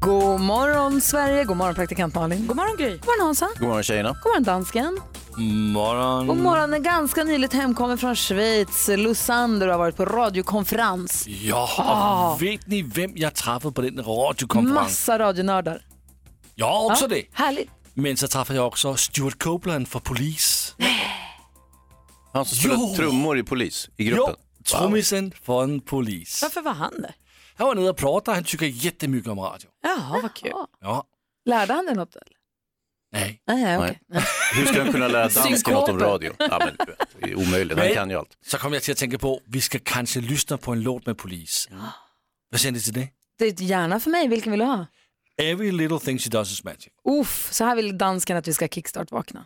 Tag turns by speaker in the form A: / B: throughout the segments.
A: God morgon Sverige, god morgon praktikant Malin. God morgon Gry. God morgon Hansa.
B: God morgon tjejerna.
A: God morgon dansken.
B: Morgon.
A: God morgon, är ganska nyligt hemkommen från Schweiz. Lusander har varit på radiokonferens.
B: Ja,
A: Ah.
B: och vet ni vem jag träffade på den radiokonferensen?
A: Massa radionördar.
B: Ja, också
A: Ja,
B: det.
A: Härligt.
B: Men så träffade jag också Stuart Copeland från Polis.
C: Han som spelade
B: Jo.
C: trummor i polis, i
B: Jo,
C: gruppen.
B: trummisen från Polis.
D: Varför var han där?
B: Han var nere och pratade, han tycker jättemycket om radio.
D: Jaha, vad kul.
B: Ja,
A: Lärde han dig något? eller?
B: nej.
A: Nej, okej.
C: Nej. Hur ska han kunna lära dansken något om
A: Synkoper.
C: radio? Ja, men, det är omöjligt, han
B: Men-
C: kan ju allt.
B: Så kom jag till att tänka på, vi ska kanske lyssna på en låt med Polis. Vad säger ni till det?
A: Det är gärna för mig, vilken vill du ha?
B: Every little thing she does is magic.
A: Uff, så här vill dansken att vi ska kickstart-vakna.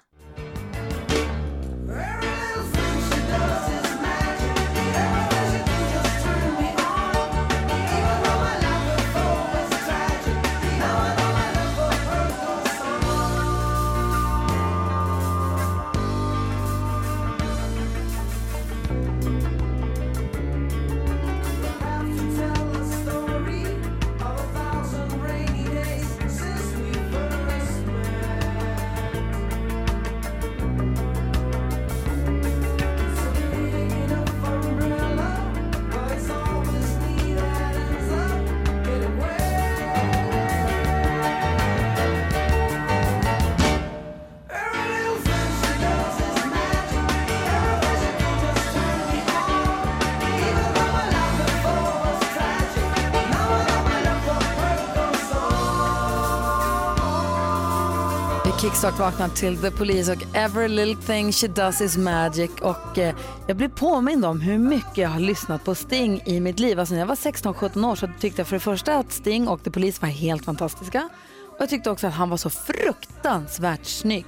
A: Vi kickstart-vaknar till The Police och Every Little Thing She Does Is Magic. Och eh, jag blev påmind om hur mycket jag har lyssnat på Sting i mitt liv. Alltså när jag var 16-17 år så tyckte jag för det första att Sting och The Police var helt fantastiska. Och jag tyckte också att han var så fruktansvärt snygg.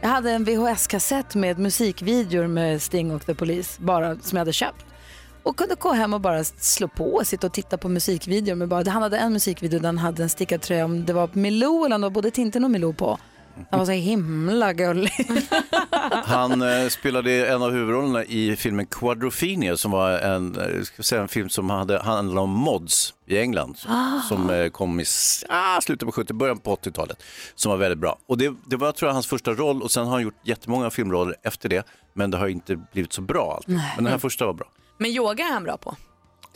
A: Jag hade en VHS-kassett med musikvideor med Sting och The Police, bara som jag hade köpt. Och kunde gå hem och bara slå på och sitta och titta på musikvideor. Med bara, han hade en musikvideo där han hade en stickad tröja, om det var Milou eller om det var både Tintin och Milou på. Han var så himla gullig.
C: Han eh, spelade en av huvudrollerna i filmen Quadrophenia som var en, eh, ska jag säga, en film som hade, handlade om mods i England som,
A: Ah.
C: som eh, kom i s- ah, slutet på 70 början på 80-talet som var väldigt bra. Och det, det var tror jag hans första roll och sen har han gjort jättemånga filmroller efter det men det har inte blivit så bra alltid. Men den här första var bra.
D: Men yoga är han bra på.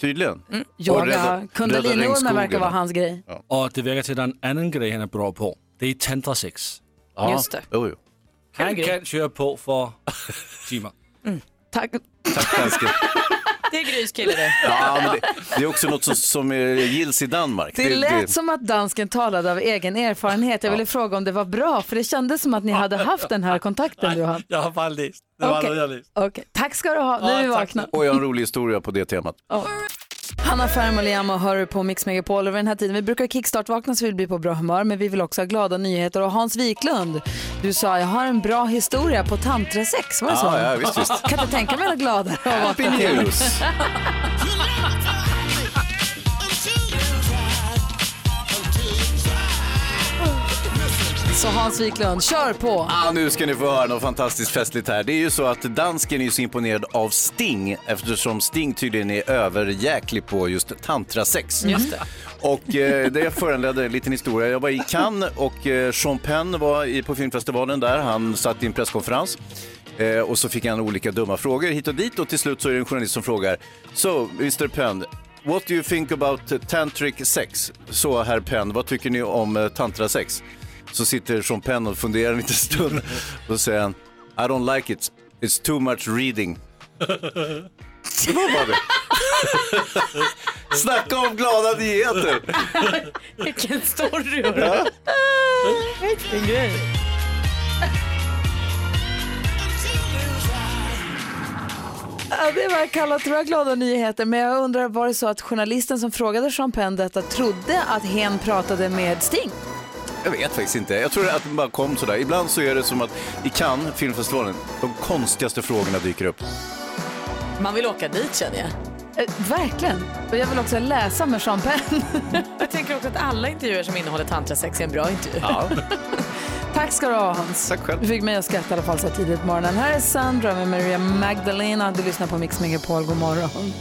C: Tydligen. Och
A: Yoga,
C: rädda- rädda
A: kundaliniormen
C: regnskogen.
A: Mm. verkar vara hans grej.
B: Och det verkar till att det är en annan grej han är bra på. Det är tantrasex.
C: Ja.
D: Just det.
C: Jo, jo.
B: Han kan köra på för timmar.
A: Tack.
C: Tack dansken.
D: Det är Grys kille det.
C: Ja, men det, det är också något som, som eh, gills i Danmark.
A: Det lät som att dansken talade av egen erfarenhet. Jag ville fråga om det var bra, för det kändes som att ni hade haft den här kontakten Johan.
B: Jag har bara läst. Det var
A: Okej.
B: det jag läst.
A: Okej, Tack ska du ha, nu är vi
B: tack.
A: vakna.
C: Och jag har en rolig historia på det temat.
A: Hanna Ferm och Liam och hör på Mix Megapol över den här tiden. Vi brukar kickstart-vakna så vi blir på bra humör, men vi vill också ha glada nyheter. Och Hans Wiklund, du sa jag har en bra historia på tantrasex, var det så?
C: Ja, ja, visst, visst.
A: Kan inte tänka mig något gladare att vakna
C: Happy news!
A: Så Hans Wiklund, kör på!
C: Ah, nu ska ni få höra något fantastiskt festligt här. Det är ju så att dansken är ju så imponerad av Sting eftersom Sting tydligen är överjäklig på just tantrasex. Mm. Just det. Och eh, det föranledde en liten historia. Jag var i Cannes och eh, Sean Penn var i, på filmfestivalen där. Han satt i en presskonferens. Eh, och så fick han olika dumma frågor hit och dit och till slut så är det en journalist som frågar So, Mr Penn, what do you think about tantric sex? Så, herr Penn, vad tycker ni om eh, tantrasex? Så sitter Sean Penn och funderar en liten stund. Då säger han I don't like it, it's too much reading. Det var bara det. Snacka om glada nyheter!
D: Vilken story.
A: Ja, det var kallat tror jag glada nyheter, men jag undrar var det så att journalisten som frågade Sean Penn detta trodde att hen pratade med Sting?
C: Jag vet faktiskt inte. Jag tror att den bara kom sådär. Ibland så är det som att i Cannes, filmfestivalen, de konstigaste frågorna dyker upp.
D: Man vill åka dit känner jag.
A: Eh, verkligen. Och jag vill också läsa med champagne.
D: Jag tänker också att alla intervjuer som innehåller tantrasex är en bra intervju.
A: Tack ska du ha Hans.
C: Tack själv.
A: Du fick mig att skratta i alla fall så här tidigt på morgonen. Här är Sandra med Maria Magdalena. Du lyssnar på Mix Megapol. God morgon.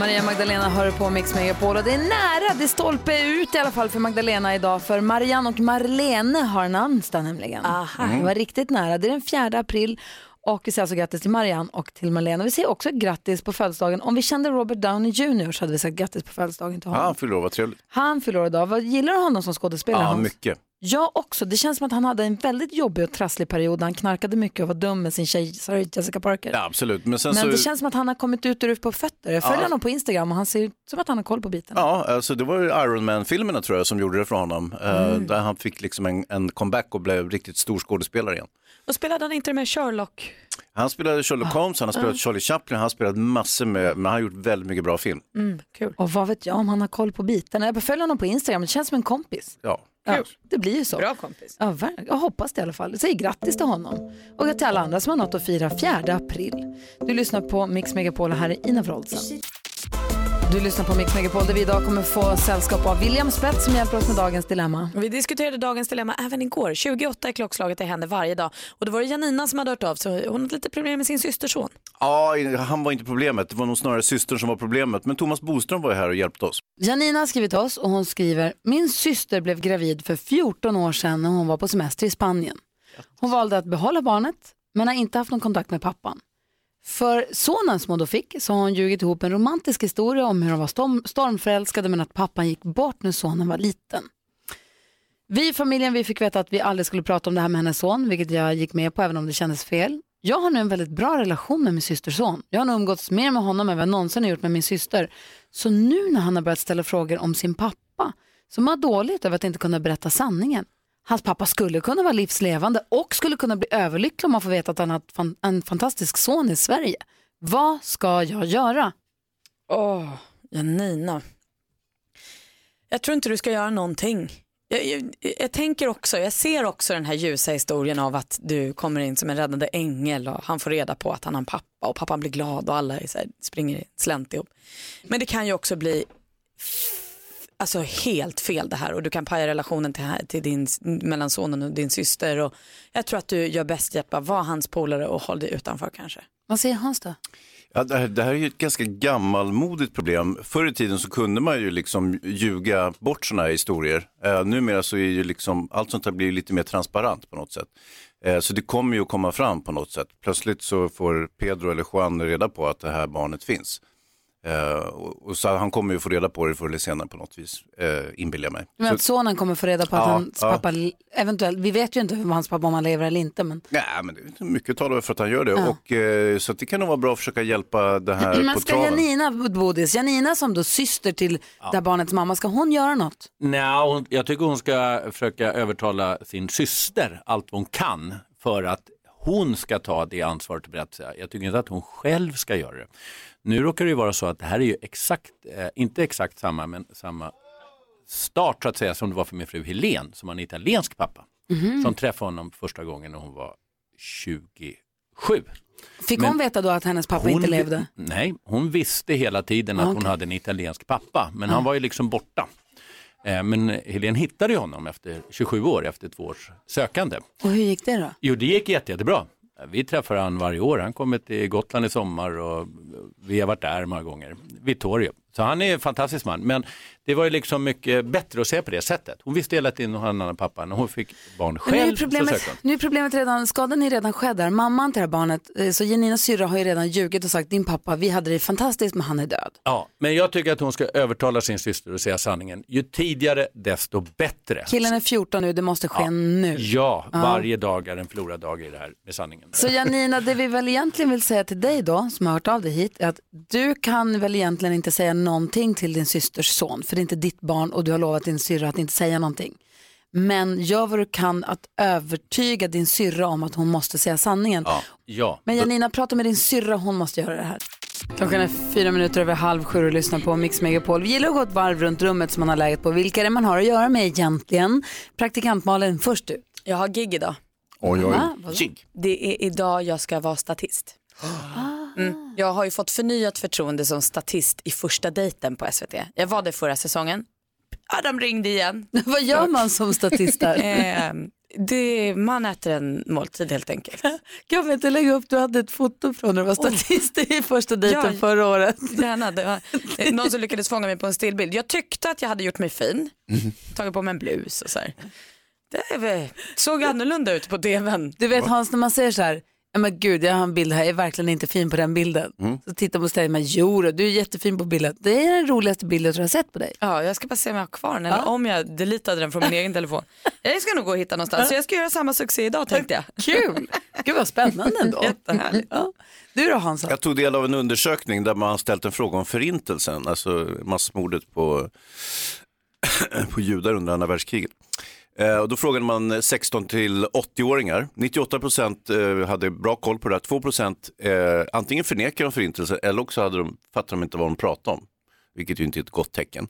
A: Maria Magdalena hör på Mix Megapol och det är nära, det är stolpe ut i alla fall för Magdalena idag för Marianne och Marlene har namnsdag nämligen. Aha. Det var riktigt nära, det är den 4 april och vi säger alltså grattis till Marianne och till Marlene och vi säger också grattis på födelsedagen. Om vi kände Robert Downey Jr så hade vi sagt grattis på födelsedagen till
C: Ja,
A: honom.
C: han fyller år, vad trevligt.
A: Han fyller år idag, vad gillar du honom som skådespelare?
C: Ja,
A: Hans?
C: mycket.
A: Jag också. Det känns som att han hade en väldigt jobbig och trasslig period. Han knarkade mycket och var dum med sin tjej Sarah Jessica Parker.
C: Ja, absolut. Men sen
A: Men det
C: så...
A: känns som att han har kommit ut ur på fötter. Jag följer honom på Instagram och han ser ut som att han har koll på biten.
C: Ja, alltså det var ju Iron Man-filmerna tror jag som gjorde det för honom. Eh,
A: Mm.
C: Där han fick liksom en, en comeback och blev riktigt stor skådespelare igen.
D: Och spelade han inte med Sherlock?
C: Han spelade Sherlock Holmes, han har spelat Charlie Chaplin, han har spelat massor med, men han har gjort väldigt mycket bra film.
D: Mm, kul.
A: Och vad vet jag om han har koll på biten? Jag bara följer honom på Instagram. Det känns som en kompis.
C: Ja.
A: Ja, det blir ju så.
D: Bra kompis.
A: Ja, ver- jag hoppas det i alla fall. Jag säger grattis till honom och till alla andra som har något att fira 4 april. Du lyssnar på Mix Megapol och här är Ina Wroldsen. Du lyssnar på Mix Megapol där vi idag kommer få sällskap av William Spets som hjälper oss med dagens dilemma.
D: Vi diskuterade dagens dilemma även igår. 28 är klockslaget, det händer varje dag. Och då var det Janina som hade hört av sig. Hon hade lite problem med sin systerson.
C: ja, han var inte problemet, det var nog snarare systern som var problemet. Men Thomas Boström var ju här och hjälpte oss.
A: Janina har skrivit till oss och hon skriver Min syster blev gravid för 14 år sedan när hon var på semester i Spanien. Hon valde att behålla barnet men har inte haft någon kontakt med pappan. För sonen som hon då fick så har hon ljugit ihop en romantisk historia om hur de var storm- stormförälskade men att pappan gick bort när sonen var liten. Vi i familjen vi fick veta att vi aldrig skulle prata om det här med hennes son, vilket jag gick med på även om det kändes fel. Jag har nu en väldigt bra relation med min systerson. Jag har nog umgåtts mer med honom än vad jag någonsin har gjort med min syster. Så nu när han har börjat ställa frågor om sin pappa, så mår jag dåligt över att inte kunna berätta sanningen. Hans pappa skulle kunna vara livslevande och skulle kunna bli överlycklig om man får veta att han har ett fan- en fantastisk son i Sverige. Vad ska jag göra?
D: Åh, Janina. Jag tror inte du ska göra någonting. Jag, jag, jag tänker också, jag ser också den här ljusa historien av att du kommer in som en räddande ängel och han får reda på att han har en pappa och pappan blir glad och alla är så här, springer slänt ihop. Men det kan ju också bli f- alltså helt fel det här och du kan paja relationen till, till din, mellan sonen och din syster och jag tror att du gör bäst i att bara vara hans polare och håll dig utanför kanske.
A: Vad säger Hans då?
C: Ja, det, här, det här är ju ett ganska gammalmodigt problem. Förr i tiden så kunde man ju liksom ljuga bort sådana här historier. Eh, numera så är ju liksom, allt sånt här blir lite mer transparent på något sätt. Eh, så det kommer ju att komma fram på något sätt. Plötsligt så får Pedro eller Juan reda på att det här barnet finns. Eh, och, och så han kommer ju få reda på det förr eller senare på något vis, eh, inbillar jag mig.
A: Men
C: Så-
A: att sonen kommer få reda på att
C: Ja,
A: hans
C: ja.
A: pappa eventuellt, vi vet ju inte om hans pappa om han lever eller inte, men
C: Nej, men det är inte mycket talar för att han gör det. Och, eh, så att det kan nog vara bra att försöka hjälpa det här
A: Men
C: på
A: ska
C: traven.
A: Janina Bodis, Janina som då syster till det här barnets mamma, ska hon göra något?
E: Nej, hon, jag tycker hon ska försöka övertala sin syster allt hon kan för att hon ska ta det ansvaret och berätta. Jag tycker inte att hon själv ska göra det. Nu råkar det ju vara så att det här är ju exakt, eh, inte exakt samma, men samma start så att säga som det var för min fru Helen som har en italiensk pappa. Som träffade honom första gången när hon var 27.
A: Fick
E: Men
A: hon veta då att hennes pappa inte
E: vi-
A: levde?
E: Nej, hon visste hela tiden
A: Ah,
E: att hon hade en italiensk pappa, men han var ju liksom borta. Eh, Men Helene hittade ju honom efter 27 år, efter två års sökande.
A: Och hur gick det då?
E: Jo, det gick jätte, jättebra. Vi träffar han varje år. Han kommer till Gotland i sommar och vi har varit där många gånger. Vittorio. Så han är en fantastisk man. Men det var ju liksom mycket bättre att se på det sättet. Hon visste hela tiden att hon hade en annan pappa. När hon fick barn
A: Men nu,
E: själv så
A: är problemet,
E: sökte hon.
A: nu är problemet redan, skadan är redan skedd där. Mamman till det här barnet, eh, så Janinas syrra har ju redan ljugit och sagt din pappa, vi hade det fantastiskt men han är död.
E: Ja, men jag tycker att hon ska övertala sin syster och säga sanningen. Ju tidigare desto bättre.
A: Killen är 14 nu, det måste ske nu.
E: Ja, varje dag är en förlorad dag i det här med sanningen.
A: Så Janina, det vi väl egentligen vill säga till dig då, som har hört av dig hit, är att du kan väl egentligen inte säga någonting till din systers son, för det är inte ditt barn och du har lovat din syrra att inte säga någonting. Men gör vad du kan att övertyga din syrra om att hon måste säga sanningen.
E: Ja,
A: Men Janina, prata med din syrra, hon måste göra det här. Klockan är fyra minuter över halv sju och lyssnar på Mix Megapol. Vi gillar att gå ett varv runt rummet som man har läget på. Vilka är det man har att göra med egentligen? Praktikant Malin, först du.
D: Jag har gig idag.
C: Oj, oj.
A: Va? Vadå?
E: Jig.
D: Det är idag jag ska vara statist.
A: Ah.
D: Mm. Jag har ju fått förnyat förtroende som statist i första dejten på SVT. Jag var det förra säsongen. Ja, de ringde igen.
A: Vad gör man som statist där?
D: Ehm, det, man äter en måltid helt enkelt.
A: kan vi inte lägga upp, du hade ett foto från när du var statist i första dejten
D: Ja.
A: förra året.
D: Gärna, det var eh, någon som lyckades fånga mig på en stillbild. Jag tyckte att jag hade gjort mig fin, tagit på mig en blus och så här. Det är väl- såg annorlunda ut på tvn.
A: Du vet Hans, när man säger så här, ja men gud jag har en bild här, jag är verkligen inte fin på den bilden. Så tittar man och säger, men jo då, du är jättefin på bilden. Det är den roligaste bilden jag tror jag har sett på dig.
D: Ja, jag ska bara se om jag har kvar den eller om jag deletade den från min egen telefon. Jag ska nog gå och hitta någonstans, så jag ska göra samma succé idag tänkte jag.
A: Kul! Gud vad spännande ändå.
D: Jättehärligt.
A: Ja. Du då Hansa?
C: Jag tog del av en undersökning där man har ställt en fråga om förintelsen, alltså massmordet på, på judar under andra världskriget. Eh, och då frågade man 16 till 80-åringar. 98 procent eh, hade bra koll på det här. 2 procent eh, antingen förnekar de förintelsen eller också hade de, fattar de inte vad de pratar om. Vilket ju inte är ett gott tecken.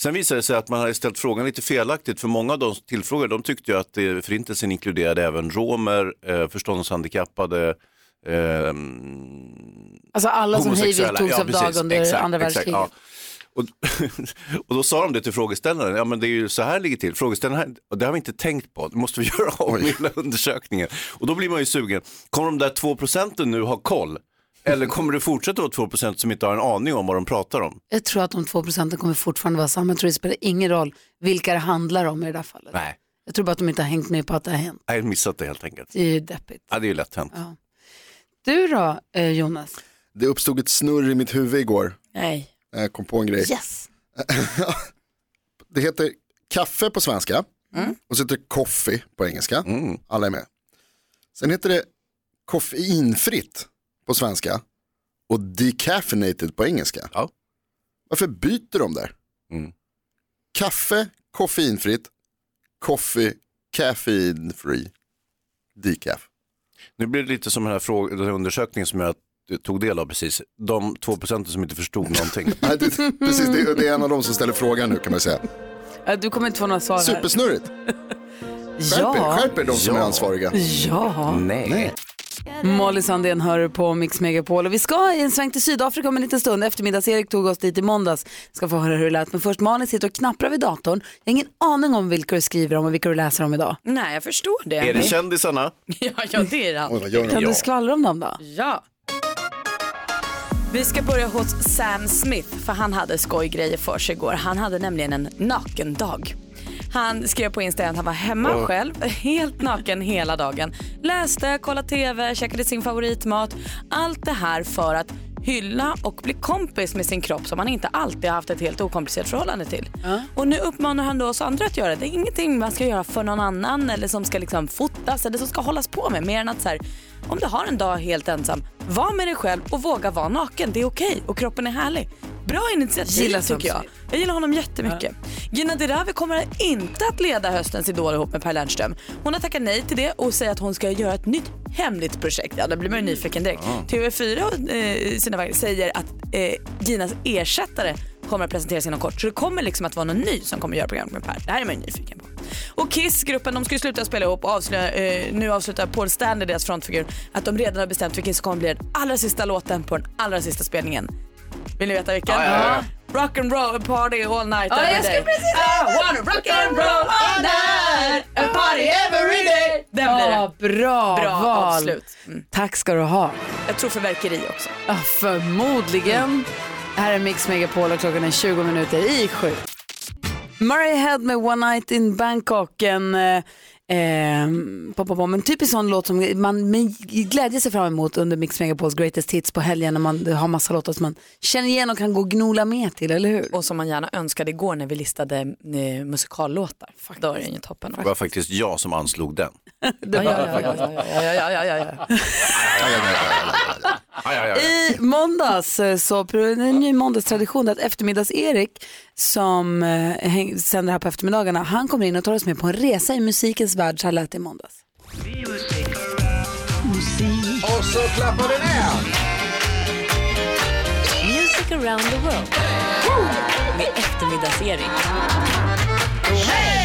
C: Sen visade det sig att man hade ställt frågan lite felaktigt för många av de tillfrågade de tyckte ju att eh, förintelsen inkluderade även romer, eh, förståndshandikappade, ehm,
A: Alltså alla som hejvilt
C: homosexuella.
A: togs
C: ja,
A: av
C: precis.
A: dag under
C: Exakt,
A: andra
C: exakt, ja.
A: världskriget.
C: och, och då sa de det till frågeställaren, ja men det är ju så här ligger till, frågeställaren, här- och det har vi inte tänkt på, det måste vi göra om hela undersökningen. Och då blir man ju sugen, kommer de där två procenten nu ha koll? Eller kommer det fortsätta vara två procent som inte har en aning om vad de pratar om?
A: Jag tror att de två procenten kommer fortfarande vara samma. Jag tror det spelar ingen roll vilka det handlar om i det där fallet.
C: Nej,
A: Jag tror bara att de inte har hängt med på att det har hänt.
C: jag har missat det helt enkelt.
A: Det är ju deppigt.
C: Ja, det är ju lätt hänt.
A: Du då eh, Jonas?
F: Det uppstod ett snurr i mitt huvud igår.
D: Nej.
F: när Jag kom på en grej.
A: Yes!
F: Det heter kaffe på svenska.
A: Mm.
F: Och så heter det coffee på engelska.
C: Mm.
F: Alla är med. Sen heter det koffeinfritt på svenska. Och decaffeinated på engelska.
C: Ja.
F: Varför byter de där?
C: Mm.
F: Kaffe, koffeinfritt, coffee, caffeine free, decaf.
C: Nu blir det lite som den här, frå- den här undersökningen som jag tog del av precis, de två procenten som inte förstod någonting.
F: Nej, det, precis, det, är- det är en av dem som ställer frågan nu kan man säga.
A: Eh, Du kommer inte få några svar här.
F: Supersnurrigt. Skärp er,
A: Ja.
F: skärp er de som
C: Ja.
F: är ansvariga.
A: Ja.
F: Mm.
C: Nej.
A: Molly Sandén hör du på Mix Megapol och vi ska i en sväng till Sydafrika om en liten stund. Eftermiddags-Erik tog oss dit i måndags. Ska få höra hur det lät. Men först Malin sitter och knapprar vid datorn. Jag har ingen aning om vilka du skriver om och vilka du läser om idag.
D: Nej, jag förstår det.
C: Är det kändisarna?
D: ja, ja, det är det.
F: Oj, vad gör de?
A: Kan du skvallra om dem då?
D: Ja. Vi ska börja hos Sam Smith för han hade skojgrejer för sig igår. Han hade nämligen en nakendag. Han skrev på Insta att han var hemma själv, helt naken hela dagen. Läste, kollade TV, käkade sin favoritmat. Allt det här för att hylla och bli kompis med sin kropp som han inte alltid har haft ett helt okomplicerat förhållande till. Och nu uppmanar han då oss andra att göra det. Det är ingenting man ska göra för någon annan eller som ska liksom fotas eller som ska hållas på med. Mer än att så här, om du har en dag helt ensam, var med dig själv och våga vara naken. Det är okej och kroppen är härlig. Bra initiativ
A: Gillar
D: tycker jag.
A: Samson.
D: Jag gillar honom jättemycket. Gina Dirawi kommer inte att leda höstens Idol ihop med Per Lernström. Hon har tackat nej till det och säger att hon ska göra ett nytt hemligt projekt. Ja, då blir man ju nyfiken direkt. TV4 eh, sina vägar säger att eh, Ginas ersättare kommer att presenteras inom kort. Så det kommer liksom att vara någon ny som kommer göra programmet med Per. Det här är man ju nyfiken på. Och Kiss, gruppen, de ska ju sluta spela ihop och avslöja, eh, nu avslutar Paul Stanley, deras frontfigur, att de redan har bestämt vilken som kommer bli den allra sista låten på den allra sista spelningen. Vill ni veta vilken?
C: Ja, ja,
D: Rock and roll party all night
A: Ja, jag
D: every
A: skulle
D: day.
A: precis säga
D: I wanna rock and roll all night and party every day. Den blir det.
A: Ja, bra,
D: Bra
A: val.
D: avslut. Mm.
A: Tack ska du ha.
D: Jag tror förverkeri också.
A: Ja, förmodligen. Här är Mix Megapol och klockan är 20 minuter i sju. Murray Head med One Night in Bangkok. En, eh, eh, pop, pop, pop, en typisk sån låt som man med glädje ser fram emot under Mix Megapols greatest hits på helgen när man har massa låtar som man känner igen och kan gå och gnola med till, eller hur?
D: Och som man gärna önskade igår när vi listade eh, musikallåtar. Då är den ju toppen.
C: Det var faktiskt jag som anslog den.
D: Ja, ja, ja, ja, ja, ja, ja, ja, ja.
C: Aj, aj, aj.
A: I måndags eh, så det är en ny måndagstradition att eftermiddags-Erik som eh, häng- sänder här på eftermiddagarna, han kommer in och tar oss med på en resa i musikens värld. Så här lät det i måndags.
F: Och så klappar den ner.
D: around the world. Med eftermiddagsserie.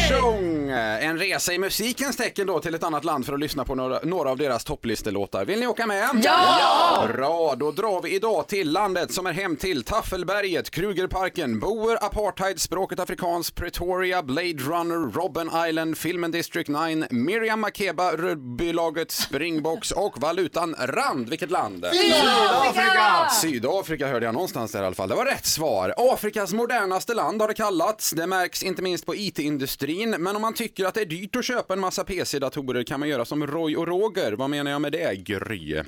G: Tjong! En resa i musikens tecken då till ett annat land för att lyssna på några, några av deras topplistelåtar. Vill ni åka med?
D: Ja!
G: Bra, då drar vi idag till landet som är hem till Taffelberget, Krugerparken, Boer, Apartheid, Språket Afrikans, Pretoria, Blade Runner, Robben Island, filmen District 9, Miriam Makeba, Rugbylaget, Springboks och valutan Rand. Vilket land? Sydafrika! Sydafrika hörde jag någonstans där i alla fall. Det var rätt svar. Afrikas modernaste land har det kallats. Det märks inte minst på IT-industrin. Men om man tycker att det är dyrt att köpa en massa PC-datorer kan man göra som Roy och Roger. Vad menar jag med det, Gry?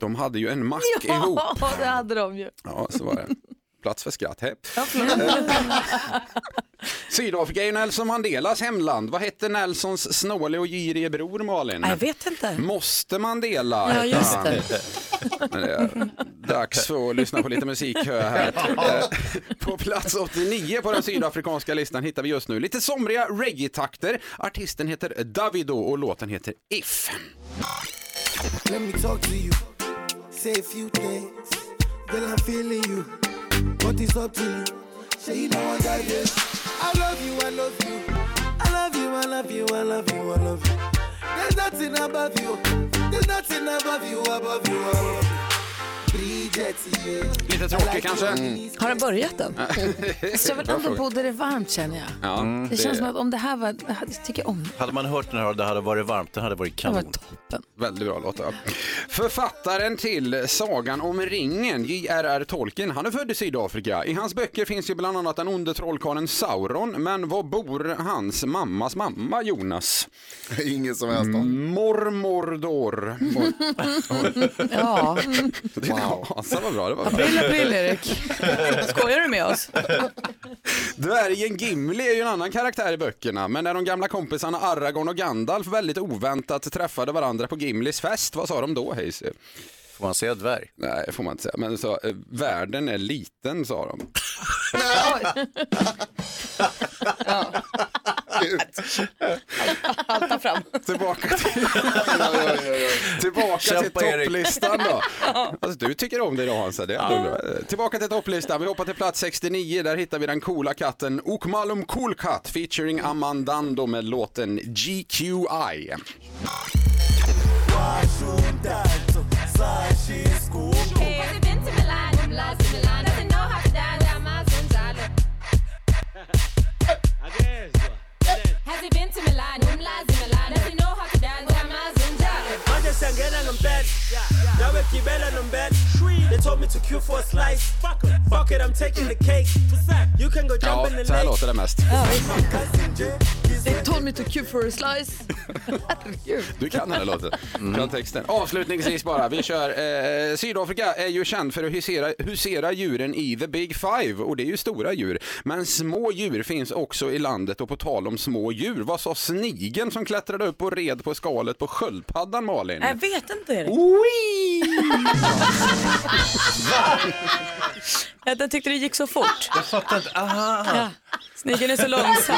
G: De hade ju en mack ihop.
A: Ja, det hade de ju.
G: Ja, så var det. Plats för skratt. Hej. Sydafrika är ju Nelson Mandelas hemland. Vad hette Nelsons snåle och girige bror Malin?
D: Jag vet inte.
G: Måste Mandela
D: Ja,
G: hette
D: just
G: han.
D: det.
G: Men det är Dags för att lyssna på lite musik hör jag här. Eh, På plats 89 på den sydafrikanska listan hittar vi just nu lite somriga reggae-takter. Artisten heter Davido och låten heter If.
H: Let me talk to you, say a few things. Girl, I'm feeling you. What is up to you? Say you know I got this. I love you, I love you. I love you, I love you, I love you, I love you. There's nothing above you. There's nothing above you, above you, above you. Bridget, yeah.
G: Lite tråkig kanske? Mm.
D: Har den börjat än?
A: Så jag vill
C: Bra
A: ändå
C: fråga.
A: bo där det är varmt känner jag.
G: Ja,
C: Mm,
A: Det känns som att om det här var, det här- jag tycker om det.
C: Hade man hört den här och det hade varit varmt, den hade varit
A: Det var
C: kanon.
A: toppen.
G: Väldigt bra låt. ja. Författaren till Sagan om ringen, J.R.R. Tolkien, han är född i Sydafrika. I hans böcker finns ju bland annat den onde trollkarlen Sauron, men var bor hans mammas mamma Jonas?
F: Ingen som helst aning.
G: Mormordor. Mor-
D: Ja.
G: wow. Alltså, vad bra det var.
D: April, april, Erik. Skojar du med oss?
G: Dvärgen Gimli är ju en annan karaktär i böckerna, men när de gamla kompisarna Aragorn och Gandalf väldigt oväntat träffade varandra på Gimlis fest, vad sa de då, Hayes?
C: Får man säga dvärg?
G: Nej, får man inte säga. Men så, eh, världen är liten, sa de.
D: Halta fram.
G: Tillbaka till, tillbaka till
C: Kämpa, Erik.
G: topplistan då. Alltså, du tycker om det idag Hansa. Det är ändå bra. Tillbaka till topplistan. Vi hoppar till plats 69. Där hittar vi den coola katten Okmalum Cool Cat featuring Amandando med låten GQI. Ja, så här låter det mest.
A: They told me to queue for a slice.
G: Du kan den här låten. Kan texten. Avslutningsvis bara, vi kör. Eh, Sydafrika är ju känd för att husera, husera djuren i the big five och det är ju stora djur. Men små djur finns också i landet och på tal om små djur, vad sa snigeln som klättrade upp och red på skalet på sköldpaddan Malin?
D: Jag vet inte, Erik. Jag jag tyckte det gick så fort.
E: Jag fattar inte.
D: Ja. Snigeln är så långsam.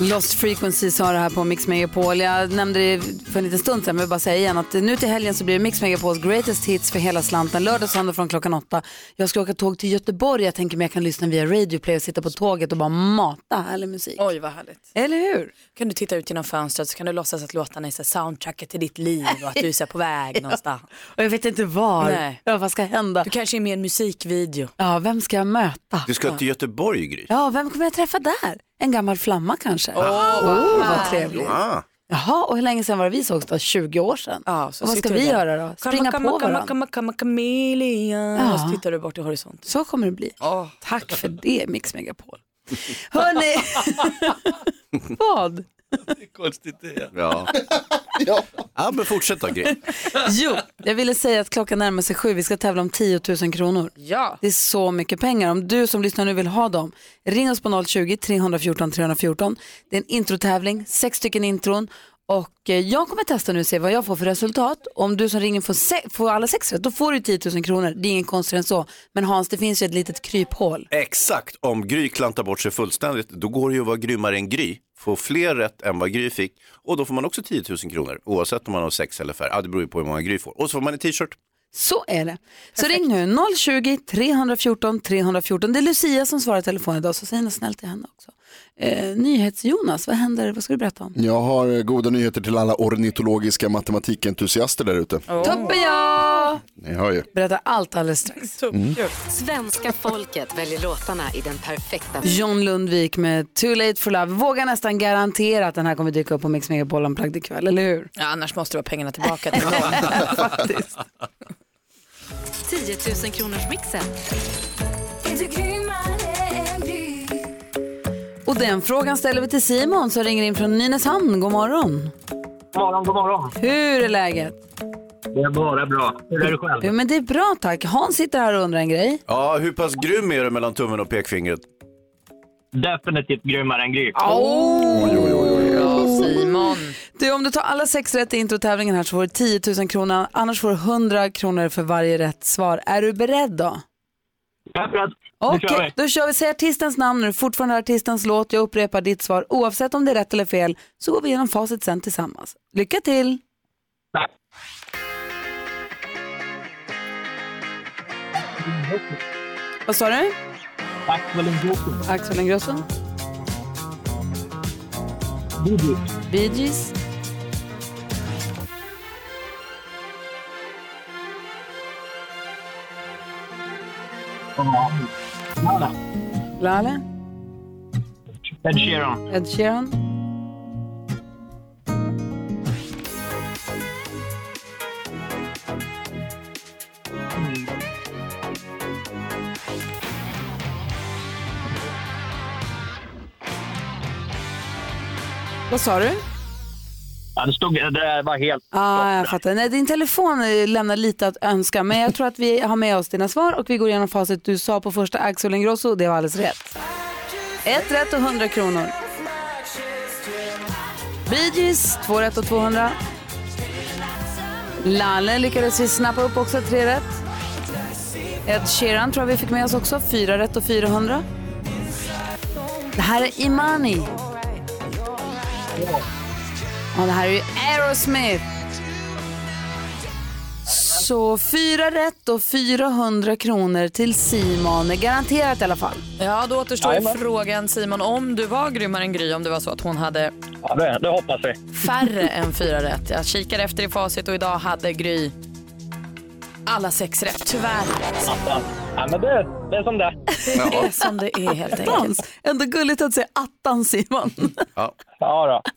A: Lost Frequencies har det här på Mix Megapol. Jag nämnde det för en liten stund sedan, men jag vill bara säga igen att nu till helgen så blir det Mix Megapols greatest hits för hela slanten. Lördag och söndag från klockan åtta. Jag ska åka tåg till Göteborg. Jag tänker mig jag kan lyssna via Radio Play och sitta på tåget och bara mata härlig musik.
D: Oj, vad härligt.
A: Eller hur?
D: Kan du titta ut genom fönstret så kan du låtsas att låtarna är så här soundtracket till ditt liv och att du är så här på väg någonstans.
A: Och jag vet inte var.
D: Nej.
A: Ja, vad ska hända?
D: Du kanske är med i en musikvideo.
A: Ja, vem ska jag möta?
C: Du ska till Göteborg, Gry.
A: Ja, vem kommer jag träffa där? En gammal flamma kanske? Åh, vad trevligt.
C: Ah.
A: Jaha, och hur länge sedan var det vi sågs då? 20 år sedan?
D: Ja, så
A: och vad
D: sitter
A: ska
D: du
A: vi
D: där.
A: göra då? Springa
D: Kamma, kamma,
A: på varandra?
D: kamma, kamma, kameleon.
A: Ja.
D: Och så tittar du bort i horisonten.
A: Så kommer det bli. Tack för det, Mix Megapol. Hörni, vad?
C: Ja. ja, men fortsätt då, Gry.
A: Jo, jag ville säga att klockan närmar sig sju. Vi ska tävla om 10 000 kronor.
D: Ja.
A: Det är så mycket pengar. Om du som lyssnar nu vill ha dem, ring oss på 020-314 314. Det är en introtävling, sex stycken intron. Och eh, jag kommer testa nu och se vad jag får för resultat. Om du som ringer får, se- får alla sex rätt, då får du 10 000 kronor. Det är ingen konstigare än så. Men Hans, det finns ju ett litet kryphål.
C: Exakt, om Gry klantar bort sig fullständigt, då går det ju att vara grymmare än Gry. Få fler rätt än vad Gry fick och då får man också 10 000 kronor oavsett om man har sex eller färre. Ja, det beror ju på hur många Gry får. Och så får man en t-shirt.
A: Så är det. Så ring nu 020-314 314. Det är Lucia som svarar i telefon idag så säg något snällt till henne också. Eh, NyhetsJonas, vad händer? Vad ska du berätta om?
F: Jag har eh, goda nyheter till alla ornitologiska matematikentusiaster där ute.
A: Toppen ja!
F: Ni hör ju.
A: Berätta allt alldeles strax.
F: Mm.
I: Svenska folket väljer låtarna i den perfekta...
A: John Lundvik med Too Late for Love. Vågar nästan garantera att den här kommer dyka upp på Mix Megapol Unplugged ikväll, eller hur?
D: Ja, annars måste du ha pengarna tillbaka till någon.
I: 10 000 kronors mixen.
A: Och den frågan ställer vi till Simon som ringer in från Nynäshamn. God morgon.
J: God morgon, god morgon.
A: Hur är läget?
J: Det är bara bra. Hur är det själv?
A: Jo, men det är bra tack. Hans sitter här och undrar en grej.
C: Ja, hur pass grym är du mellan tummen och pekfingret?
J: Definitivt grymmare än Gry.
A: Simon. Du, om du tar alla sex rätt i introtävlingen här så får du 10 000 kronor. Annars får du 100 kronor för varje rätt svar. Är du beredd då?
J: Jag är beredd.
A: Okej, då kör vi. Säg artistens namn när du fortfarande hör artistens låt. Jag upprepar ditt svar oavsett om det är rätt eller fel så går vi igenom facit sen tillsammans. Lycka till! Vad sa du?
J: Axel Ingrosso.
A: Axel Ingrosso. Bee Gees.
J: Lala.
A: Lale.
J: Ed Sheeran.
A: Ed Sheeran. Vad sa du?
J: Ja, det, stod, det där var helt...
A: Ah, jag fattar. Nej, din telefon eh, lämnar lite att önska, men jag tror att vi har med oss dina svar och vi går igenom facit. Du sa på första Axel Ingrosso, det var alldeles rätt. Ett rätt och 100 kronor. Bee Gees, två rätt och 200. Lalle lyckades vi snappa upp också, tre rätt. Ed Sheeran tror jag vi fick med oss också, fyra rätt och 400. Det här är Imani. Ja, det här är ju Aerosmith. Så fyra rätt och 400 kronor till Simon. Garanterat i alla fall.
D: Ja, då återstår ju frågan Simon om du var grymmare än Gry om det var så att hon hade
J: Ja, det, det hoppas vi.
D: färre än fyra rätt. Jag kikar efter i facit och idag hade Gry alla sex rätt, tyvärr.
J: Attan. Alltså, Ja, men det, det är som det
D: Det är som det är helt enkelt.
A: Attans. Ändå gulligt att säga attan Simon.
C: Ja.
J: Ja, då.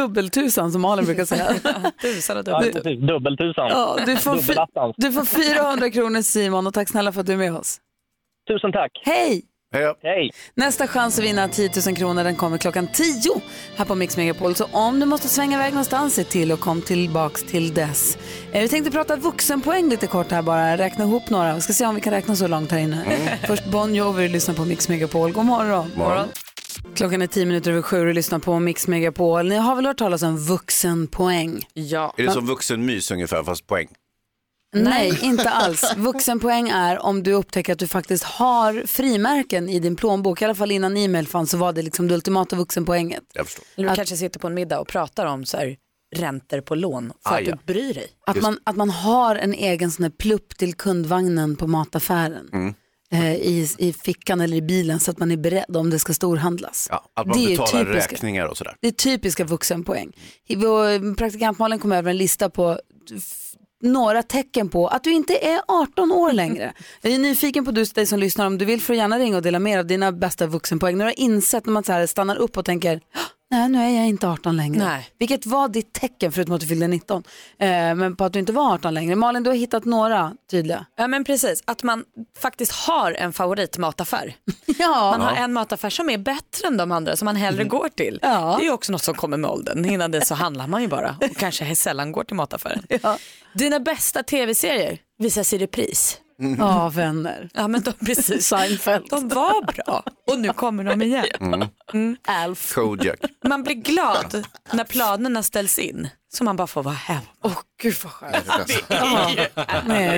A: Dubbeltusan som Malin brukar säga.
D: Tusan och
J: Ja,
D: dubbeltusan.
J: precis. Dubbeltusan.
A: Ja, du, får fy-
J: Dubbelattans.
A: du får 400 kronor Simon och tack snälla för att du är med oss.
J: Tusen tack.
A: Hej!
J: Hej.
A: Nästa chans att vinna 10 000 kronor den kommer klockan 10 här på Mix Megapol. Så om du måste svänga iväg någonstans, se till och kom tillbaks till dess. Eh, Vi tänkte prata vuxenpoäng lite kort här bara, räkna ihop några. Vi ska se om vi kan räkna så långt här inne.
C: Mm.
A: Först Bon Jovi, lyssna på Mix Megapol. God morgon.
C: Morgon.
A: Klockan är 10 minuter över sju och lyssnar på Mix Megapol. Ni har väl hört talas om vuxenpoäng?
D: Ja.
C: Är det som vuxenmys ungefär, fast poäng?
A: Nej, inte alls. Vuxenpoäng är om du upptäcker att du faktiskt har frimärken i din plånbok. I alla fall innan e-mail fanns så var det liksom det ultimata vuxenpoänget.
C: Jag förstår.
D: Eller du kanske sitter på en middag och pratar om så här, räntor på lån för
A: Ah,
D: att
A: ja.
D: du bryr dig.
A: Att man, att man har en egen sån här plupp till kundvagnen på mataffären.
C: Mm.
A: Eh, i, I fickan eller i bilen så att man är beredd om det ska storhandlas.
C: Ja, att man
A: Det är ju
C: betalar
A: typiskt.
C: räkningar och sådär.
A: Det är typiska vuxenpoäng. I vår- Praktikant Malin kom över en lista på f- några tecken på att du inte är 18 år längre. Jag är nyfiken på du, dig som lyssnar, om du vill får du gärna ringa och dela med dig av dina bästa vuxenpoäng. När du har insett när man så här stannar upp och tänker, "Hå, nej nu är jag inte 18 längre.
D: Nej.
A: Vilket var ditt tecken, förutom att du fyllde 19, eh, men på att du inte var 18 längre. Malin, du har hittat några tydliga.
D: Ja men precis, att man faktiskt har en favoritmataffär.
A: Ja.
D: Man
A: Mm.
D: har en mataffär som är bättre än de andra som man hellre går till. Det är ju också något som kommer med åldern. Innan det så handlar man ju bara och kanske sällan går till mataffären. Dina bästa tv-serier visas i repris.
A: Ja, vänner.
D: Ja men de, precis.
A: Seinfeld.
D: De var bra och nu kommer de igen. Mm. Alf.
C: Kojak.
D: Man blir glad när planerna ställs in så man bara får vara hemma. Åh oh, gud vad skönt.
A: Nej,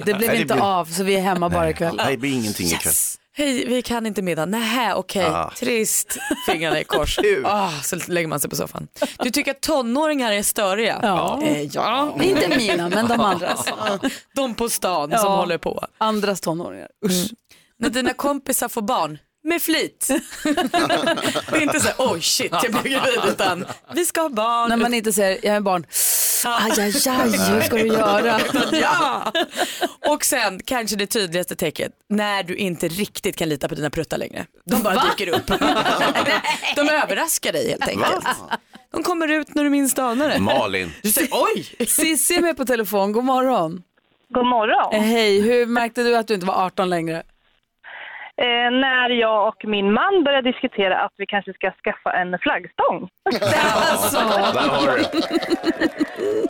A: det blev
C: Nej, det
A: inte
C: blir-
A: av så vi är hemma bara ikväll.
C: Nej, det blir ingenting ikväll.
D: Yes. Hej, vi kan inte middag. Nähä, okej.
K: Ah.
D: Trist. Fingrarna i kors.
K: Kul.
D: Ah, så lägger man sig på soffan. Du tycker att tonåringar är störiga?
A: Ja.
D: Eh, ja.
A: Inte mina, men de andras.
D: De på stan
A: Ja.
D: som håller på.
A: Andras tonåringar.
D: Mm. När dina kompisar får barn, med flit. det är inte så här, oj shit, jag blev gravid, utan vi ska ha barn.
A: När man inte säger, jag är barn. Aj, aj, aj, hur ska du göra?
D: ja. Och sen kanske det tydligaste tecknet, när du inte riktigt kan lita på dina pruttar längre. De bara
K: Va?
D: dyker upp. De överraskar dig helt enkelt. De kommer ut när du minst anar det.
C: Malin.
D: Du säger oj!
A: Cissi är med på telefon, god morgon. God morgon. Hej, hur märkte du att du inte var 18 längre?
L: Eh, när jag och min man började diskutera att vi kanske ska skaffa en flaggstång.
K: Där har du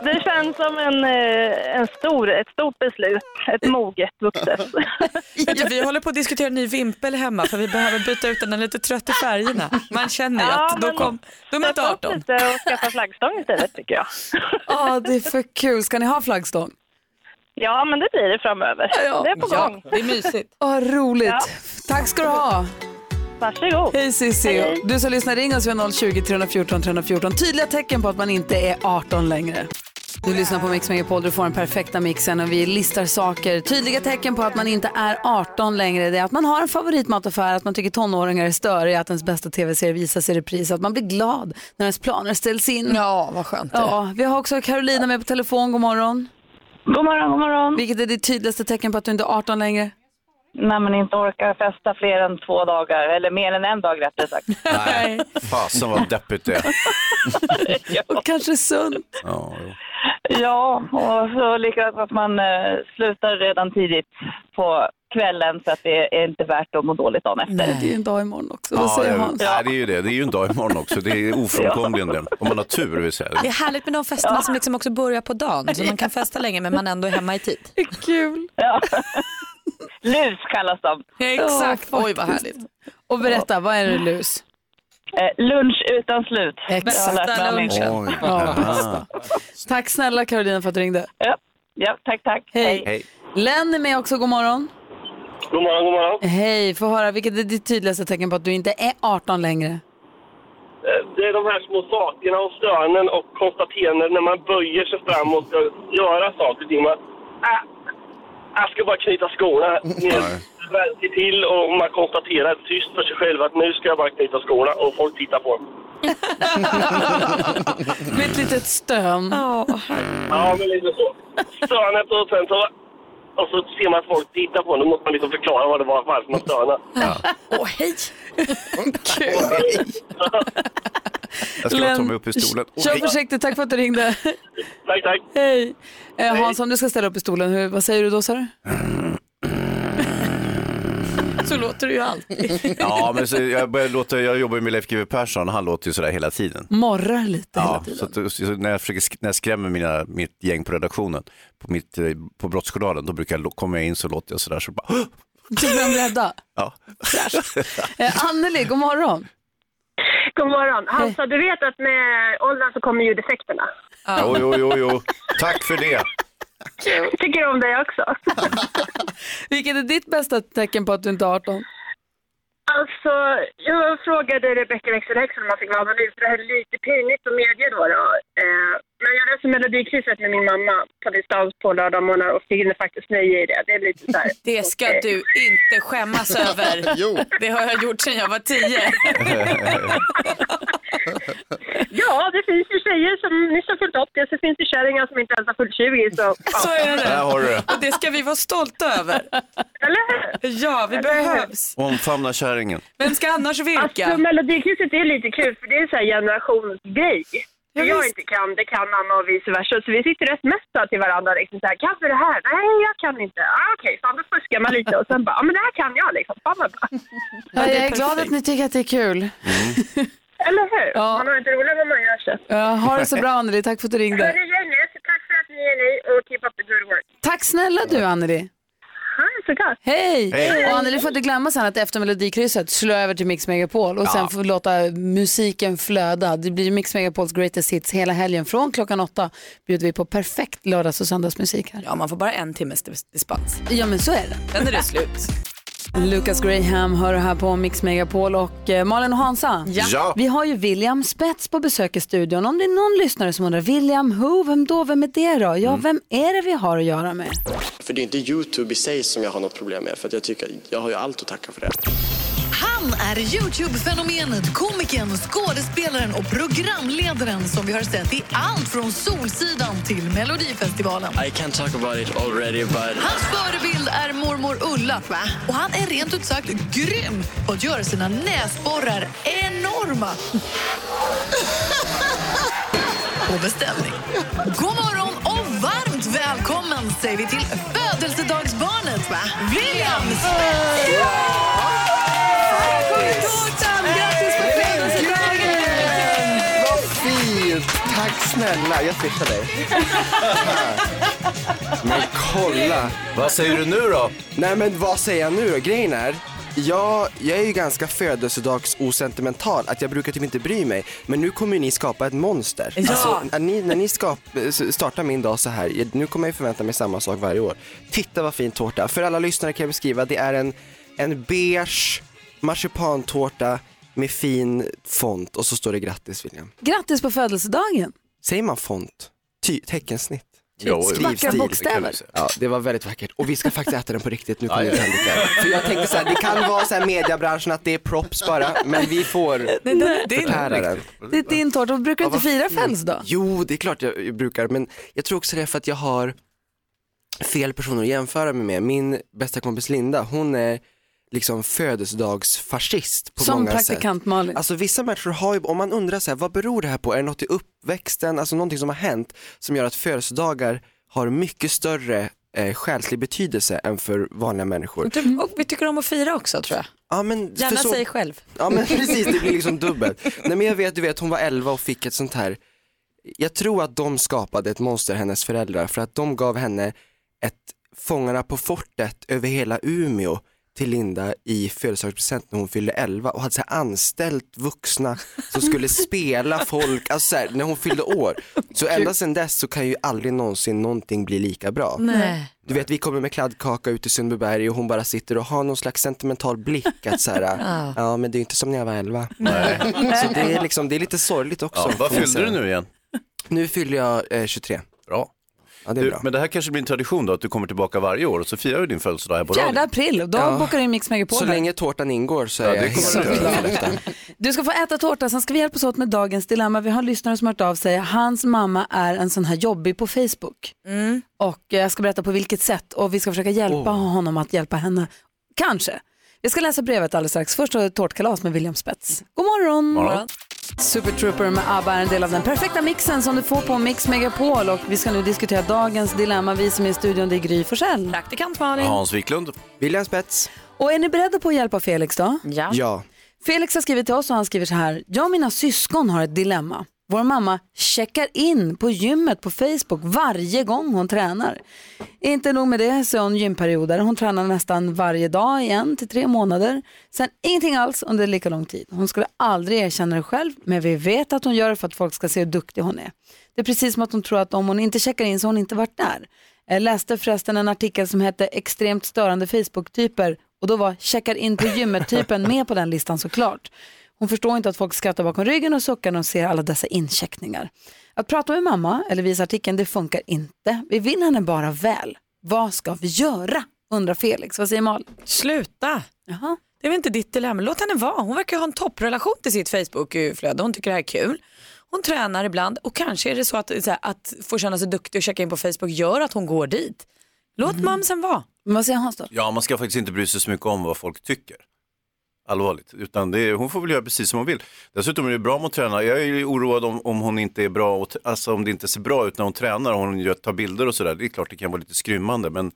L: Det känns som en, eh, en stor, ett stort beslut, ett moget vuxet.
D: Vet du, vi håller på att diskutera en ny vimpel hemma för vi behöver byta ut den, den är lite trött i färgerna. Man känner ju
L: Ja,
D: att då,
L: men-
D: kom, då är man inte 18.
L: Inte att skaffa flaggstång istället eh, tycker jag.
A: Ja, det är för kul. Ska ni ha flaggstång?
L: Ja, men det blir det framöver. Det är på
A: Ja,
L: gång.
A: det är mysigt. Åh, vad roligt. Tack ska du ha.
L: Varsågod.
A: Hej Cissi.
L: Hej.
A: Du som lyssnar, ring oss vid 020-314 314. Tydliga tecken på att man inte är 18 längre. Du lyssnar på Mix Megapol, du får den perfekta mixen och vi listar saker. Tydliga tecken på att man inte är 18 längre, det är att man har en favoritmataffär, att man tycker tonåringar är störiga, att ens bästa tv-serie visas i repris, att man blir glad när ens planer ställs in.
D: Ja, vad skönt.
A: Ja, vi har också Carolina med på telefon, god morgon.
L: God morgon, god morgon.
A: Vilket är ditt tydligaste tecken på att du inte är 18 längre?
L: När man inte orkar festa fler än två dagar, eller mer än en dag rättare sagt.
C: Nej, fasen vad deppigt det är.
A: Och kanske sunt.
C: Ja, jo.
L: Ja, och så likadant att man eh, slutar redan tidigt på kvällen så att det är inte värt att må dåligt dagen efter.
A: Det är ju en dag imorgon också.
C: Ja,
A: Vad säger
C: jag-
A: Hans?
C: Nej, det är ju det. Det är ju en dag imorgon också. Det är ofrånkomligen den. Om man har tur vill säga.
D: Det är härligt med de festerna som liksom också börjar på dagen så man kan festa länge men man ändå är hemma i tid.
A: Kul.
L: Lus kallas de.
D: Exakt. Oj, vad härligt.
A: Och berätta, vad är det lus?
L: Eh, lunch utan slut.
A: Exakt.
K: Oj.
A: Ja. Tack snälla Carolina för att du ringde.
L: Ja, ja tack, tack.
A: Hej. Len är med också, god morgon.
J: God morgon, god morgon.
A: Hej, få höra, vilket är ditt tydligaste tecken på att du inte är 18 längre?
J: Eh, Det är de här små sakerna och stönen och konstateranden när man böjer sig fram och ska göra saker och ting. Man, ah, jag ska bara knyta skorna. Ner, Väljer till och man konstaterar tyst för sig själv att nu ska jag bara knyta skorna och folk tittar på en.
A: Med ett litet stön.
J: Ja, men lite så. Stönet och sen så... Och så ser man att folk tittar på en. Då måste man liksom förklara vad det var, varför man stönade.
D: Åh, hej!
C: Jag ska bara ta mig upp i stolen.
A: Kör försiktigt, tack för att du ringde.
J: Tack, tack.
A: Hej. Eh, Hans, om du ska ställa upp i stolen, hur, vad säger du då, sa du?
D: Så låter det ju alltid.
C: Ja, men så jag, börjar låta, jag jobbar ju med Leif GW Persson och han låter ju sådär hela tiden.
A: Morrar lite.
C: Ja, så att, så när, jag försöker, sk- när jag skrämmer mina, mitt gäng på redaktionen, på, mitt, eh, på Brottsjournalen, då brukar jag, lo- kommer jag in så låter jag sådär så bara, "Åh!"
A: Så blir de rädda.
C: ja.
A: Eh, Anneli, god morgon.
M: God morgon. Hansa, du vet att med åldern så kommer ljudeffekterna.
C: Jo, jo, jo, jo, tack för det.
M: Tycker om dig också.
A: Vilket är ditt bästa tecken på att du inte är 18?
M: Alltså, jag frågade Rebecca växelhäxan om man fick vara anonym, för det här är lite pinigt att medge då. då. Eh, men jag läste Melodikrysset med min mamma på distans på lördag morgon och finner faktiskt nöje i det. Det är lite så här,
D: Det ska
M: okej.
D: du inte skämmas över. Det har jag gjort sedan jag var tio.
M: Ja, det finns ju tjejer som nyss har fyllt 80 och så finns det kärringar som inte ens har fyllt 20. Så, ja.
D: Så är det.
C: Där har du det.
D: Och det ska vi vara stolta över. Eller Ja, vi behövs.
C: Omfamna kärringen.
D: Vem ska annars
M: Alltså,
D: virka?
M: Melodikrysset är lite kul för det är en sån här generationsgrej.
D: Ja,
M: Det jag
D: visst.
M: inte kan, det kan Anna och vice versa. Så vi sitter rätt mätta till varandra. Liksom så här, kan du det här? Nej, jag kan inte. Ah, Okej, fan då fuskar man lite och sen bara, ah, men det här kan jag liksom. Fan vad bra.
A: Ja, jag är glad att ni tycker att det är kul.
M: Eller hur? Man har inte roligt när man gör så.
A: Ja, ha det så bra Anneli, tack för att du
M: Hörru
A: ringde.
M: gänget, tack för att ni är ni och keep up the good work.
A: Tack snälla du Anneli. Hej!
M: Hej.
A: Och Anneli får inte glömma sen att efter Melodikrysset slå över till Mix Megapol och sen
K: Ja.
A: få låta musiken flöda. Det blir Mix Megapols greatest hits hela helgen. Från klockan åtta bjuder vi på perfekt lördags och söndagsmusik här.
D: Ja, man får bara en timmes dis- dispens.
A: Ja, men så är det.
D: Sen är det slut.
A: Lucas Graham hör här på Mix Megapol och eh, Malin och Hansa.
K: Ja.
A: Vi har ju William Spets på besök i studion. Om det är någon lyssnare som undrar, William who, vem då, vem är det då? Ja,
K: Mm.
A: vem är det vi har att göra med?
N: För det är inte Youtube i sig som jag har något problem med, för att jag tycker jag har ju allt att tacka för det.
O: Han är Youtube-fenomenet, komikern, skådespelaren och programledaren som vi har sett i allt från Solsidan till Melodifestivalen.
N: I can't talk about it already, but...
O: Hans förebild är mormor Ulla och han är rent ut sagt grym på att göra sina näsborrar enorma. på beställning. God morgon och varmt välkommen säger vi till födelsedagsbarnet va? William Spets! Här kommer tårtan! Grattis på födelsedagen!
K: Vad fint! Tack snälla, jag fixar dig. Men kolla!
C: Vad säger du nu då?
K: Nej men vad säger jag nu då? Grejen är, jag, jag är ju ganska födelsedagsosentimental, att jag brukar typ inte bry mig. Men nu kommer ju ni skapa ett monster.
P: Ja.
K: Alltså, när ni, när ni skap, startar min dag så här, nu kommer jag ju förvänta mig samma sak varje år. Titta vad fin tårta. För alla lyssnare kan jag beskriva, det är en, en beige marsipantårta med fin font och så står det grattis William.
A: Grattis på födelsedagen!
K: Säger man font? Ty- teckensnitt?
A: Jo, jo. Vackra bokstäver.
K: Ja, det var väldigt vackert. Och vi ska faktiskt äta den på riktigt. Nu kommer
P: Ja,
K: det
P: ja.
K: hända lite. För jag tänkte så här, det kan vara så här mediebranschen att det är props bara, men vi får
A: det- det är
K: förtära den.
A: Det är din tårta, brukar du
K: Ja,
A: inte fira födelsedag?
K: Mm. Jo, det är klart jag brukar, men jag tror också det är för att jag har fel personer att jämföra mig med. Min bästa kompis Linda, hon är liksom födelsedagsfascist på
A: Som
K: många
A: praktikant
K: sätt.
A: Malin.
K: Alltså vissa människor har ju, om man undrar så här, vad beror det här på? Är det något i uppväxten, alltså någonting som har hänt som gör att födelsedagar har mycket större eh, själslig betydelse än för vanliga människor?
D: typ, Och vi tycker om att fira också tror jag.
K: Ja, men
D: Gärna
K: för så-
D: säg själv.
K: Ja men precis, det blir liksom dubbelt. Nej men jag vet, du vet hon var 11 och fick ett sånt här, jag tror att de skapade ett monster hennes föräldrar för att de gav henne ett Fångarna på fortet över hela Umeå till Linda i födelsedagspresent när hon fyllde 11 och hade så här anställt vuxna som skulle spela folk, alltså så här, när hon fyllde år. Så ända sedan dess så kan ju aldrig någonsin någonting bli lika bra.
P: Nej.
K: Du vet vi kommer med kladdkaka ut i Sundbyberg och hon bara sitter och har någon slags sentimental blick att så här,
P: Ja.
K: ja men det är inte som när jag var elva. Så det är, liksom, det är lite sorgligt också.
C: Ja, vad
K: får jag
C: fyllde du
K: säga.
C: nu igen?
K: Nu fyller jag eh, 23.
C: Bra.
K: Ja, det är
C: du,
K: bra.
C: Men det här kanske blir en tradition då, att du kommer tillbaka varje år och så firar du din födelsedag här på
A: 4
C: radion.
A: april, då
C: Ja.
A: bokar du in Mix Megapol.
K: Så
A: här.
K: länge tårtan ingår så är
C: Ja,
K: jag
C: det kommer
K: helt
C: du göra.
K: för detta.
A: Du ska få äta tårta, sen ska vi hjälpas åt med dagens dilemma. Vi har en lyssnare som har hört av sig. Hans mamma är en sån här jobbig på Facebook.
D: Mm.
A: Och eh, jag ska berätta på vilket sätt och vi ska försöka hjälpa
D: Oh.
A: honom att hjälpa henne. Kanske. Vi ska läsa brevet alldeles strax. Först har vi ett tårtkalas med William Spets. God morgon!
P: Morgon.
A: Super Trooper med ABBA är en del av den perfekta mixen som du får på Mix Megapol. Och vi ska nu diskutera dagens dilemma. Vi som är i studion, det är Gry Forssell.
D: Praktikant Malin.
C: Hans Wiklund.
K: William Spets.
A: Och är ni beredda på att hjälpa Felix då?
K: Ja.
A: Felix har skrivit till oss och han skriver så här. Jag och mina syskon har ett dilemma. Vår mamma checkar in på gymmet på Facebook varje gång hon tränar. Inte nog med det så är hon gymperioder. Hon tränar nästan varje dag i en till tre månader. Sen ingenting alls under lika lång tid. Hon skulle aldrig erkänna det själv men vi vet att hon gör det för att folk ska se hur duktig hon är. Det är precis som att hon tror att om hon inte checkar in så har hon inte varit där. Jag läste förresten en artikel som hette Extremt störande Facebook-typer och då var checkar in på gymmet-typen med på den listan såklart. Hon förstår inte att folk skrattar bakom ryggen och suckar när de ser alla dessa incheckningar. Att prata med mamma eller visa artikeln, det funkar inte. Vi vill henne bara väl. Vad ska vi göra? Undrar Felix. Vad säger Malin?
D: Sluta! Det är väl inte ditt dilemma. Låt henne vara. Hon verkar ju ha en topprelation till sitt Facebook-flöde. Hon tycker det här är kul. Hon tränar ibland och kanske är det så att, så här, att få känna sig duktig och checka in på Facebook gör att hon går dit. Låt mamsen vara.
A: Mm. Vad säger Hans då?
C: Ja, man ska faktiskt inte bry sig så mycket om vad folk tycker. Allvarligt, utan det är, hon får väl göra precis som hon vill. Dessutom är det bra om hon tränar. Jag är ju oroad om, om hon inte är bra, och, t- alltså om det inte ser bra ut när hon tränar och hon gör, tar bilder och sådär. Det är klart det kan vara lite skrymmande, men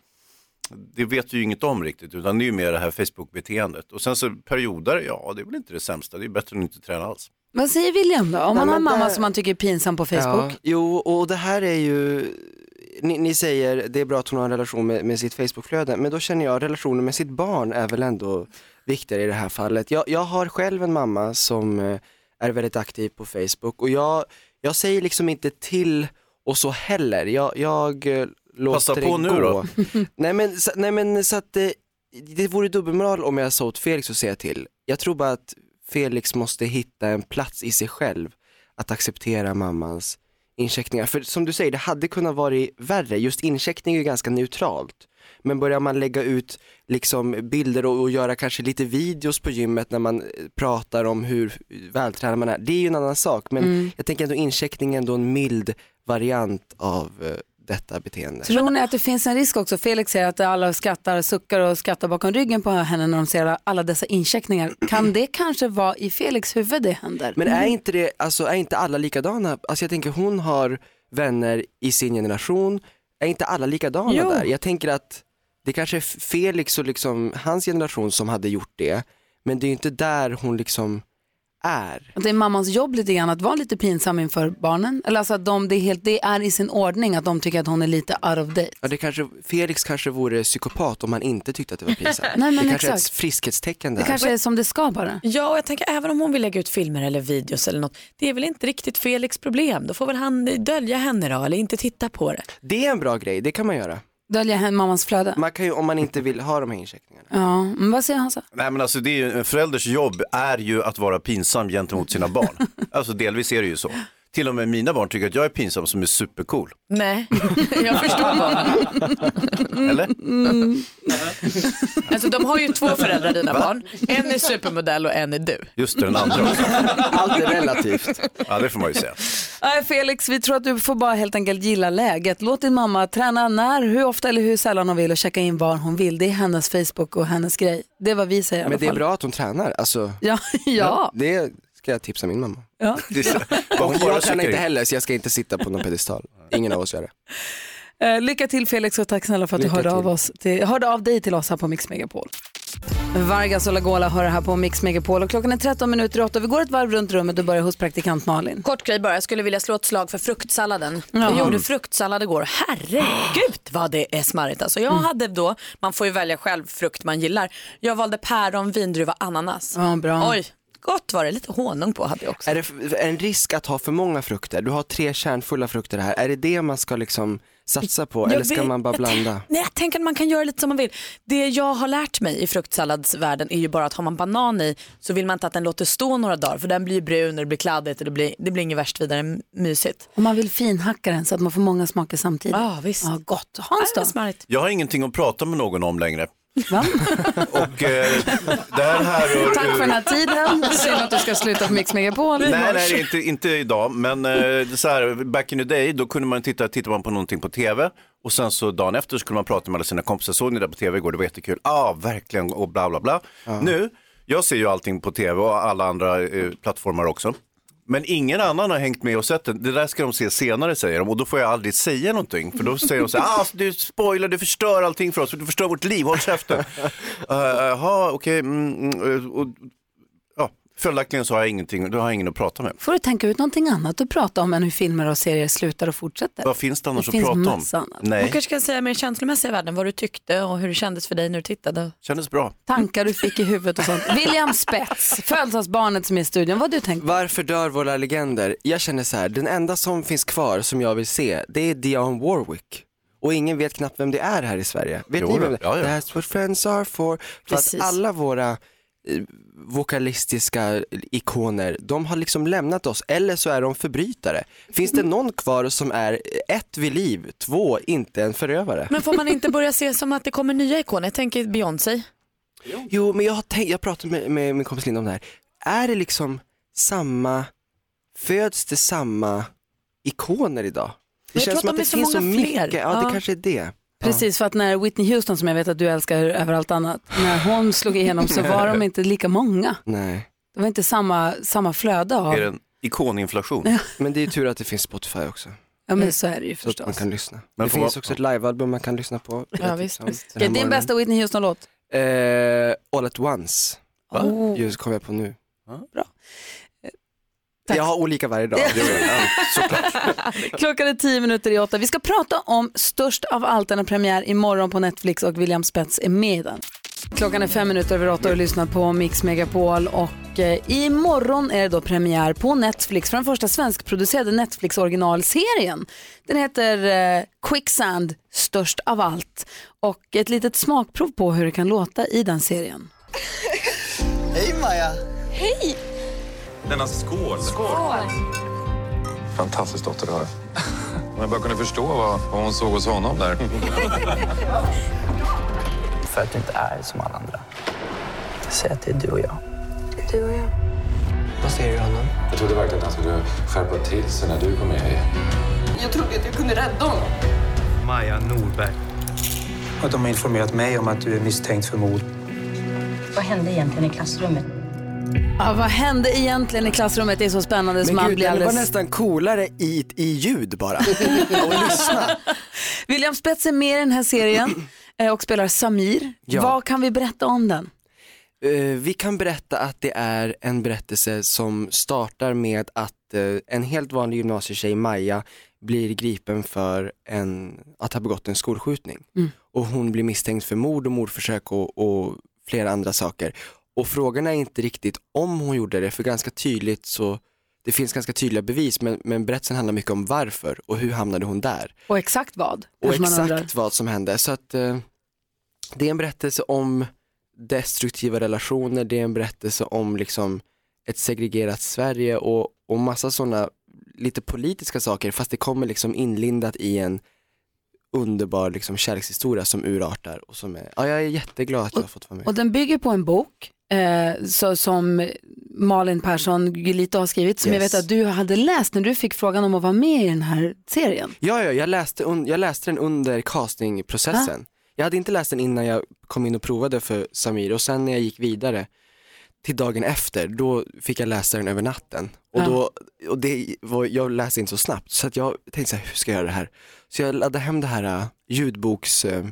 C: det vet vi ju inget om riktigt, utan det är ju mer det här Facebook-beteendet. Och sen så perioder, ja, det är väl inte det sämsta. Det är bättre än att inte träna alls.
A: Vad säger William då? Om
K: Nej,
A: man har
K: men
A: en mamma
K: där-
A: som man tycker är pinsam på Facebook.
K: Ja, jo, och det här är ju, ni, ni säger det är bra att hon har en relation med, med sitt Facebookflöde, men då känner jag relationen med sitt barn är väl ändå viktigare i det här fallet. Jag, jag har själv en mamma som eh, är väldigt aktiv på Facebook och jag, jag säger liksom inte till och så heller. Jag, jag eh, låter
C: Passa
K: det
C: på
K: gå.
C: nu då.
K: nej, men, så, nej men så att eh, det vore dubbelmoral om jag sa åt Felix att säga till. Jag tror bara att Felix måste hitta en plats i sig själv att acceptera mammans incheckningar. För som du säger, det hade kunnat vara värre. Just incheckning är ju ganska neutralt. Men börjar man lägga ut liksom bilder och, och göra kanske lite videos på gymmet när man eh, pratar om hur vältränad man är, det är ju en annan sak. Men
A: Mm.
K: jag tänker ändå incheckning är ändå en mild variant av eh, detta beteende.
A: Tror ni att det finns en risk också? Felix säger att alla skrattar, suckar och skrattar bakom ryggen på henne när de ser alla- alla dessa incheckningar. Kan det kanske vara i Felix huvud det händer?
K: Men är inte, det, alltså, är inte alla likadana? Alltså jag tänker hon har vänner i sin generation, är inte alla likadana
A: Jo.
K: där? Jag tänker att det kanske är Felix och liksom hans generation som hade gjort det, men det är ju inte där hon liksom är.
A: Att det är mammans jobb lite grann att vara lite pinsam inför barnen? Eller alltså att de, det, är helt, det är i sin ordning att de tycker att hon är lite out of date?
K: Ja, det kanske, Felix kanske vore psykopat om han inte tyckte att det var pinsamt.
A: Nej, men
K: det kanske är ett
A: exakt.
K: friskhetstecken där.
A: Det kanske är som det ska bara.
D: Ja, och jag tänker även om hon vill lägga ut filmer eller videos eller något, det är väl inte riktigt Felix problem. Då får väl han dölja henne då, eller inte titta på det.
K: Det är en bra grej, det kan man göra.
A: Dölja henne mammans flöde.
K: Man kan ju, om man inte vill ha de här incheckningarna.
A: Ja, men vad säger Hansa?
C: Nej men alltså det är ju, en förälders jobb är ju att vara pinsam gentemot sina barn. alltså delvis är det ju så. Till och med mina barn tycker att jag är pinsam som är supercool.
D: Nej, jag förstår bara.
C: Eller?
D: Mm. Alltså de har ju två föräldrar dina
C: Va?
D: barn. En är supermodell och en är du.
C: Just det, den andra också.
K: Allt är relativt.
C: Ja det får man ju säga.
A: Nej, Felix, vi tror att du får bara helt enkelt gilla läget. Låt din mamma träna när, hur ofta eller hur sällan hon vill och checka in var hon vill. Det är hennes Facebook och hennes grej. Det är vad vi säger i alla
K: Men det är
A: fall.
K: bra att hon tränar, alltså.
A: Ja, ja.
K: Det ska jag tipsa min mamma.
A: Ja.
K: Och
C: bara
K: jag
C: suckar
K: tränar inte
C: in.
K: heller så jag ska inte sitta på någon pedestal. Ingen av oss gör det.
A: Eh, lycka till Felix och tack snälla för att
K: Lycka
A: du hörde
K: till.
A: av, oss till, hörde av dig till oss här på Mix Megapol. Vargas och Lagola hör här på Mix Megapol och klockan är 13 minuter i åtta. Vi går ett varv runt rummet och börjar hos praktikant Malin.
D: Kort grej bara, jag skulle vilja slå ett slag för fruktsalladen.
A: Jaha.
D: Jag gjorde fruktsallad igår, herregud vad det är smarrigt. Alltså jag
A: Mm.
D: hade då, man får ju välja själv frukt man gillar. Jag valde päron, vindruva, ananas.
A: Ja, bra.
D: Oj, gott var det, lite honung på hade jag också.
K: Är det f- en risk att ha för många frukter? Du har tre kärnfulla frukter här. Är det det man ska liksom satsa på
D: Jag
K: eller ska
D: vet-
K: man bara
D: jag
K: blanda?
D: Nej, jag tänker att man kan göra lite som man vill. Det jag har lärt mig i fruktsalladsvärlden är ju bara att har man banan i så vill man inte att den låter stå några dagar för den blir ju brun och det blir kladdigt och det blir, det blir inget värst vidare mysigt.
A: Om man vill finhacka den så att man får många smaker samtidigt.
D: Ja, visst.
A: Ah, Ja, gott. Hans då?
C: Jag har ingenting att prata med någon om längre. Och eh, det här härrör
A: Tack för den här
C: ur...
A: tiden. Synd att du ska sluta på Mix Megapol.
C: Nej, nej, inte, inte idag, men eh, det är så här, back in the day, då kunde man titta, titta man på någonting på tv och sen så dagen efter så kunde man prata med alla sina kompisar, såg ni det på tv igår, det var jättekul, ah, verkligen, och bla bla bla. Nu, jag ser ju allting på tv och alla andra eh, plattformar också. Men ingen annan har hängt med och sett den. Det där ska de se senare säger de och då får jag aldrig säga någonting. För då säger de så här, ah, du spoilar, du förstör allting för oss, du förstör vårt liv, håll käften. Eh, Jaha, okej, mm, mm, eh, och- ja, följaktligen så har jag ingenting, då har jag ingen att prata med.
A: Får du tänka ut någonting annat att prata om än hur filmer och serier slutar och fortsätter?
C: Vad finns det annars
A: Det
C: att
A: finns
C: prata om?
A: massa annat.
D: Man
C: Nej,
D: kanske kan säga mer känslomässiga värden, vad du tyckte och hur det kändes för dig när du tittade.
C: kändes bra.
A: Tankar du fick i huvudet och sånt. William Spets, födelsedagsbarnet som är i studion. Vad har du tänkt?
K: Varför dör våra legender? Jag känner så här, den enda som finns kvar som jag vill se, det är Dionne Warwick. Och ingen vet knappt vem det är här i Sverige. Vet
C: Jo,
K: ni vem det är?
C: ja, ja.
K: That's what friends are for. För att
C: Precis.
K: alla våra eh, vokalistiska ikoner, de har liksom lämnat oss, eller så är de förbrytare. Finns det någon kvar som är eh, ett vid liv, två inte en förövare?
D: Men får man inte börja se som att det kommer nya ikoner? Jag tänker Beyoncé.
K: Jo, men jag, har tänkt, jag pratade med, med min kompis Linda om det här. Är det liksom samma, föds det samma ikoner idag? Det
A: Men jag tror
K: känns som
A: att
K: att
A: de
K: det
A: är så
K: finns så
A: många
K: mycket,
A: fler.
K: ja, det
A: Ja.
K: kanske är det.
A: Precis, för att när Whitney Houston, som jag vet att du älskar över allt annat, när hon slog igenom så var de inte lika många.
K: Nej.
A: Det var inte samma, samma flöde av.
C: Är det en ikoninflation?
K: Men det är ju tur att det finns Spotify också.
A: Ja, men så är det ju
K: Så att man
A: förstås.
K: kan lyssna.
C: Men
K: det
C: får
K: finns
C: man-
K: också ett livealbum man kan lyssna på. vill jag
A: Ja,
K: tipsa
A: visst.
K: om
A: visst.
K: den här
A: Vilken är din
K: morgonen.
A: bästa Whitney Houston-låt?
K: Eh, all at once.
A: Oh.
K: Just kom jag på nu.
A: Bra. Eh,
K: Jag har olika varje dag. Det är- ja, Såklart.
A: Klockan är tio minuter i åtta. Vi ska prata om Störst av allt. Den har premiär imorgon på Netflix och William Spets är med i den. Klockan är fem minuter över åtta och du lyssnar på Mix Megapol och Och eh, imorgon är det då premiär på Netflix för den första svenskproducerade Netflix originalserien. Den heter eh, Quicksand, störst av allt. Och ett litet smakprov på hur det kan låta i den serien.
H: Hej Maja!
P: Hej!
Q: Denna skål. Fantastiskt dotter du har. Om jag bara kunde förstå vad, vad hon såg hos honom där.
R: För att du inte är som alla andra. Säg att det är du och jag.
Q: Du och jag.
R: Vad säger du honom?
Q: Jag trodde verkligen att han skulle skärpa till sig när du kom med.
P: Jag trodde att du kunde rädda honom.
S: Maja Norberg. Och de har informerat mig om att du är misstänkt för mord.
T: Vad hände egentligen i klassrummet?
A: Ja, vad hände egentligen i klassrummet? Det är så spännande så
K: Men
A: man
K: gud,
A: blir
K: den var
A: alldeles...
K: nästan coolare i, i ljud bara.
A: William Spets är med i den här serien eh, och spelar Samir.
K: Ja.
A: Vad kan vi berätta om den?
K: Eh, vi kan berätta att det är en berättelse som startar med att eh, en helt vanlig gymnasietjej, Maja, blir gripen för en, att ha begått en skolskjutning.
A: Mm.
K: Och hon blir misstänkt för mord och mordförsök och, och flera andra saker. Och frågan är inte riktigt om hon gjorde det, för ganska tydligt så det finns ganska tydliga bevis, men, men berättelsen handlar mycket om varför och hur hamnade hon där?
A: Och exakt vad?
K: Och
A: kanske man undrar.
K: exakt vad som hände. Så att eh, det är en berättelse om destruktiva relationer, det är en berättelse om liksom ett segregerat Sverige och, och massa sådana lite politiska saker fast det kommer liksom inlindat i en underbar liksom kärlekshistoria som urartar och som är, ja jag är jätteglad att jag har fått vara med.
A: Och den bygger på en bok eh, så, som Malin Persson Gulito har skrivit som jag
K: Yes.
A: vet att du hade läst när du fick frågan om att vara med i den här serien.
K: Ja, ja jag, läste un- jag läste den under castingprocessen. Jag hade inte läst den innan jag kom in och provade för Samir och sen när jag gick vidare till dagen efter, då fick jag läsa den över natten. Och,
A: Ja.
K: då, och det var, jag läste inte så snabbt så att jag tänkte så här, hur ska jag göra det här? Så jag laddade hem det här äh, ljudboks äh,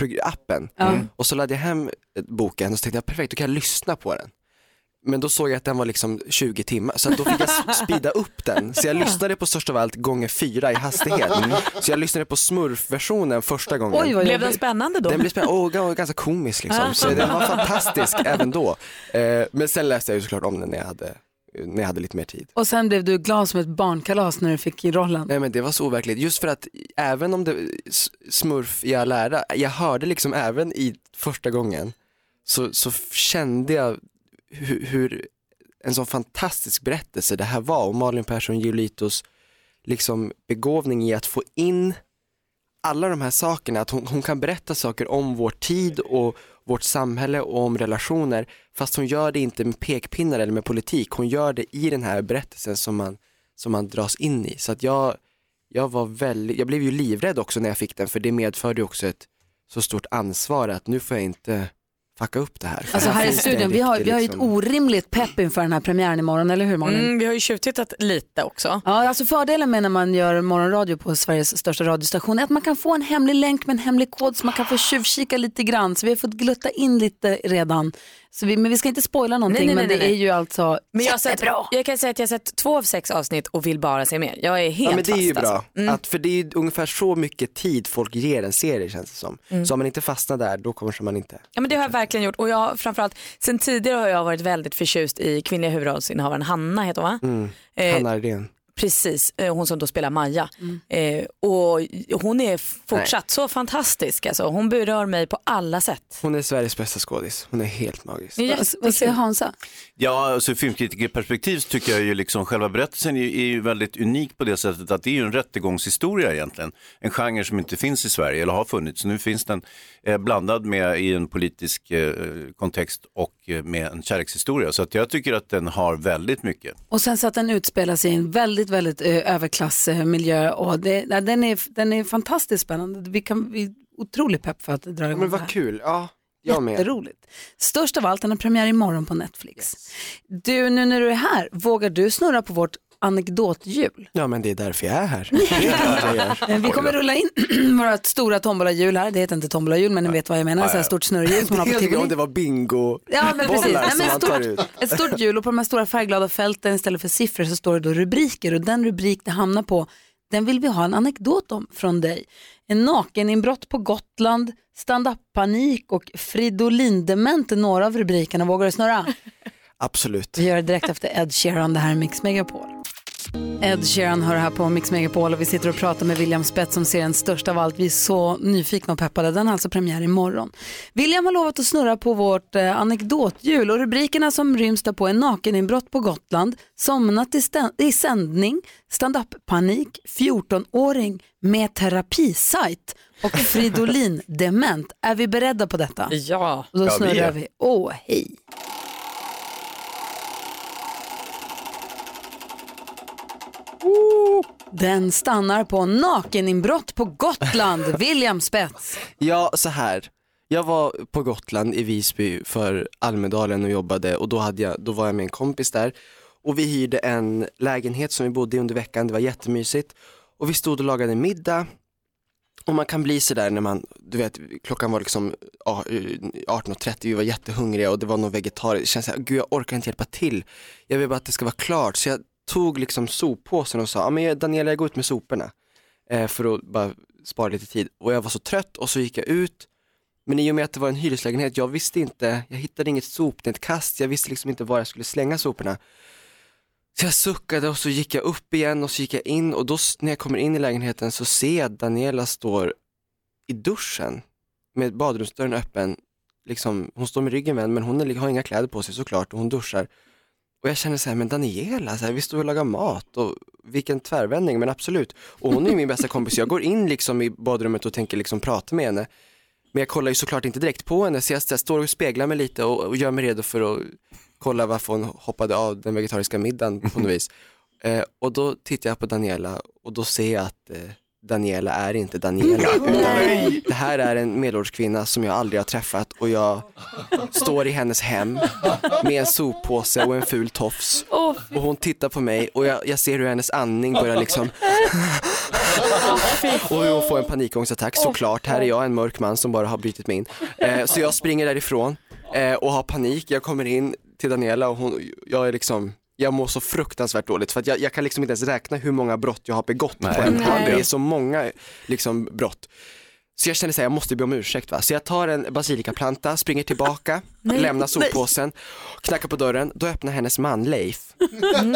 K: prog- appen
A: Ja.
K: och så laddade jag hem äh, boken och så tänkte jag perfekt, då kan jag lyssna på den. Men då såg jag att den var liksom 20 timmar, så att då fick jag s- speeda upp den. Så jag lyssnade på Störst av allt gånger fyra i hastighet.
D: Mm.
K: Så jag lyssnade på smurfversionen första gången.
D: Oj, vad Blev jobbigt. den spännande då?
K: Den blev spännande och g- ganska komisk liksom. Så den var fantastisk även då. Eh, Men sen läste jag ju såklart om den när jag hade, när jag hade lite mer tid.
A: Och sen blev du glad som ett barnkalas när du fick rollen.
K: Nej men det var så overkligt, just för att även om det s- smurf jag lärde, jag hörde liksom även i första gången så, så kände jag hur, hur en sån fantastisk berättelse det här var och Malin Persson Giolitos liksom begåvning i att få in alla de här sakerna, att hon, hon kan berätta saker om vår tid och vårt samhälle och om relationer fast hon gör det inte med pekpinnar eller med politik, hon gör det i den här berättelsen som man, som man dras in i. Så att jag, jag, var väldigt, jag blev ju livrädd också när jag fick den för det medförde ju också ett så stort ansvar att nu får jag inte fucka upp det här. För
A: Alltså här i
K: finns det en
A: studion, vi har,
K: riktig,
A: vi har ju ett
K: liksom-
A: orimligt pepp inför den här premiären imorgon, eller hur Malin?
D: Mm, vi har ju tjuvtittat lite också.
A: Ja, alltså fördelen med när man gör morgonradio på Sveriges största radiostation är att man kan få en hemlig länk med en hemlig kod så man kan få tjuvkika lite grann. Så vi har fått glutta in lite redan. Så vi, men vi ska inte spoila någonting,
D: nej,
A: men
D: nej,
A: det
D: nej.
A: är ju alltså
D: Men jag, har sett,
A: jättebra.
D: jag kan säga att jag har sett två av sex avsnitt och vill bara se mer. Jag är helt
K: Ja men det är ju
D: fast,
K: bra,
D: Alltså. Mm.
K: att, för det är ju ungefär så mycket tid folk ger en serie känns det som.
D: Mm.
K: Så om man inte fastnar där, då kommer man inte.
D: Ja, men det har jag verkligen gjort och jag, har framförallt, sen tidigare har jag varit väldigt förtjust i kvinnliga huvudrollsinnehavaren Hanna heter hon va?
K: Mm.
D: Eh,
K: Hanna Ardén.
D: Precis, eh, hon som då spelar Maja.
A: Mm.
D: Eh, och hon är fortsatt så fantastisk. Alltså. Hon berör mig på alla sätt.
K: Hon är Sveriges bästa skådis, hon är helt magisk.
A: Vad- Vad säger Hansa?
C: Ja, alltså ur filmkritikerperspektiv så tycker jag ju liksom själva berättelsen är ju, är ju väldigt unik på det sättet att det är ju en rättegångshistoria egentligen. En genre som inte finns i Sverige eller har funnits. Nu finns den eh, blandad med i en politisk eh, kontext och eh, med en kärlekshistoria. Så att jag tycker att den har väldigt mycket.
A: Och sen så att den utspelar sig i en väldigt, väldigt eh, överklassmiljö. Och det, nej, den, är, den är fantastiskt spännande. Vi, kan, vi är otroligt pepp för att dra igång
K: Men
A: det här.
K: vad kul, ja, jag med.
A: Jätteroligt. Störst av allt, den har premiär imorgon på Netflix. Du, nu när du är här, vågar du snurra på vårt anekdothjul?
K: Ja men det är därför jag är här. Det är klart jag gör.
A: Eh, Vi kommer rulla in vårt stora tombolahjul här. Det heter inte tombolahjul men ni vet vad jag menar. Ett här stort snurrhjul som man har på
K: Jag tycker om
A: tivoli.
K: det var bingo
A: Ja, men precis.
K: bollar
A: Nej,
K: som
A: men
K: man tar ut.
A: stort, ett stort hjul och på de här stora färgglada fälten istället för siffror så står det då rubriker och den rubrik det hamnar på den vill vi ha en anekdot om från dig. En nakeninbrott på Gotland, stand-up-panik och Fridolindement är några av rubrikerna. Vågar du snurra?
K: Absolut.
A: Vi gör det direkt efter Ed Sheeran, det här är Mix Megapol. Ed Sheeran hör här på Mix Megapol och vi sitter och pratar med William Spets som ser den största av allt. Vi är så nyfikna och peppade. Den har alltså premiär imorgon. William har lovat att snurra på vårt eh, anekdothjul och rubrikerna som ryms där på är nakeninbrott på Gotland, somnat i, stä- i sändning, stand-up-panik, 14-åring med terapisajt och Fridolin dement. Är vi beredda på detta?
D: Ja.
A: Och då
D: Ja, vi
A: snurrar
D: är.
A: vi. Åh, hej. Den stannar på nakeninbrott på Gotland, William Spets.
K: Ja, så här. Jag var på Gotland i Visby för Almedalen och jobbade och då, hade jag, då var jag med en kompis där och vi hyrde en lägenhet som vi bodde i under veckan, det var jättemysigt och vi stod och lagade middag och man kan bli sådär när man, du vet klockan var liksom ja, 18.30, vi var jättehungriga och det var någon vegetariskt, det känns såhär, gud jag orkar inte hjälpa till, jag vill bara att det ska vara klart så jag tog liksom soppåsen och sa, ja men jag- Daniela jag går ut med soporna eh, för att bara spara lite tid. Och jag var så trött och så gick jag ut. Men i och med att det var en hyreslägenhet, jag visste inte, jag hittade inget sopnedkast, jag visste liksom inte var jag skulle slänga soporna. Så jag suckade och så gick jag upp igen och så gick jag in och då s- när jag kommer in i lägenheten så ser jag att Daniela står i duschen med badrumsdörren öppen. Liksom, hon står med ryggen vänd men hon är, har inga kläder på sig såklart och hon duschar. Och jag känner så här, men Daniela, så här, vi står och lagar mat och vilken tvärvändning, men absolut. Och hon är ju min bästa kompis, jag går in liksom i badrummet och tänker liksom prata med henne. Men jag kollar ju såklart inte direkt på henne, så jag, jag står och speglar mig lite och, och gör mig redo för att kolla varför hon hoppade av den vegetariska middagen på något vis. Eh, och då tittar jag på Daniela och då ser jag att eh, Daniela är inte Daniela. Utan det här är en medelålders kvinna som jag aldrig har träffat och jag står i hennes hem med en soppåse och en ful tofs. Och hon tittar på mig och jag, jag ser hur hennes andning börjar liksom och hur hon får en panikångestattack såklart. Här är jag en mörk man som bara har brutit mig in. Eh, så jag springer därifrån eh, och har panik. Jag kommer in till Daniela och hon, jag är liksom jag mår så fruktansvärt dåligt för att jag, jag kan liksom inte ens räkna hur många brott jag har begått på en dag. Det är så många liksom, brott. Så jag känner att jag måste be om ursäkt. Va? Så jag tar en basilikaplanta, springer tillbaka,
U: Nej.
K: lämnar soppåsen, knackar på dörren. Då öppnar hennes man Leif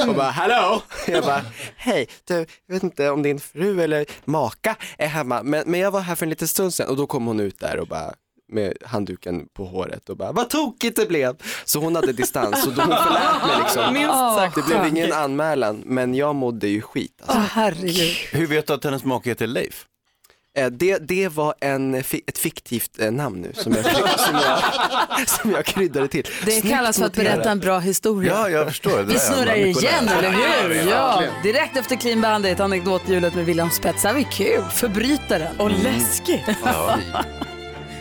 K: och bara hallå! Mm. Jag bara hej, du, jag vet inte om din fru eller maka är hemma men, men jag var här för en liten stund sedan och då kom hon ut där och bara med handduken på håret och bara vad tokigt det blev. Så hon hade distans och då hon förlät mig liksom.
A: Minst sagt.
K: Det blev ingen anmälan men jag mådde ju skit. alltså.
A: Åh, herregud.
K: Hur vet du att hennes make heter Leif? Eh, Det, det var en, fi- ett fiktivt eh, namn nu som jag, som jag, som jag kryddade till.
A: Det kallas för att berätta en bra historia.
K: Ja, jag förstår. Det
A: Vi
K: där
A: snurrar
K: är man
A: igen,
K: Nicolai.
A: eller hur?
K: Ja,
A: Ja,
K: verkligen.
A: direkt efter Clean Bandit, anekdothjulet med William Spets. Det här var ju kul. Förbrytaren. Och läskigt.
U: Ja.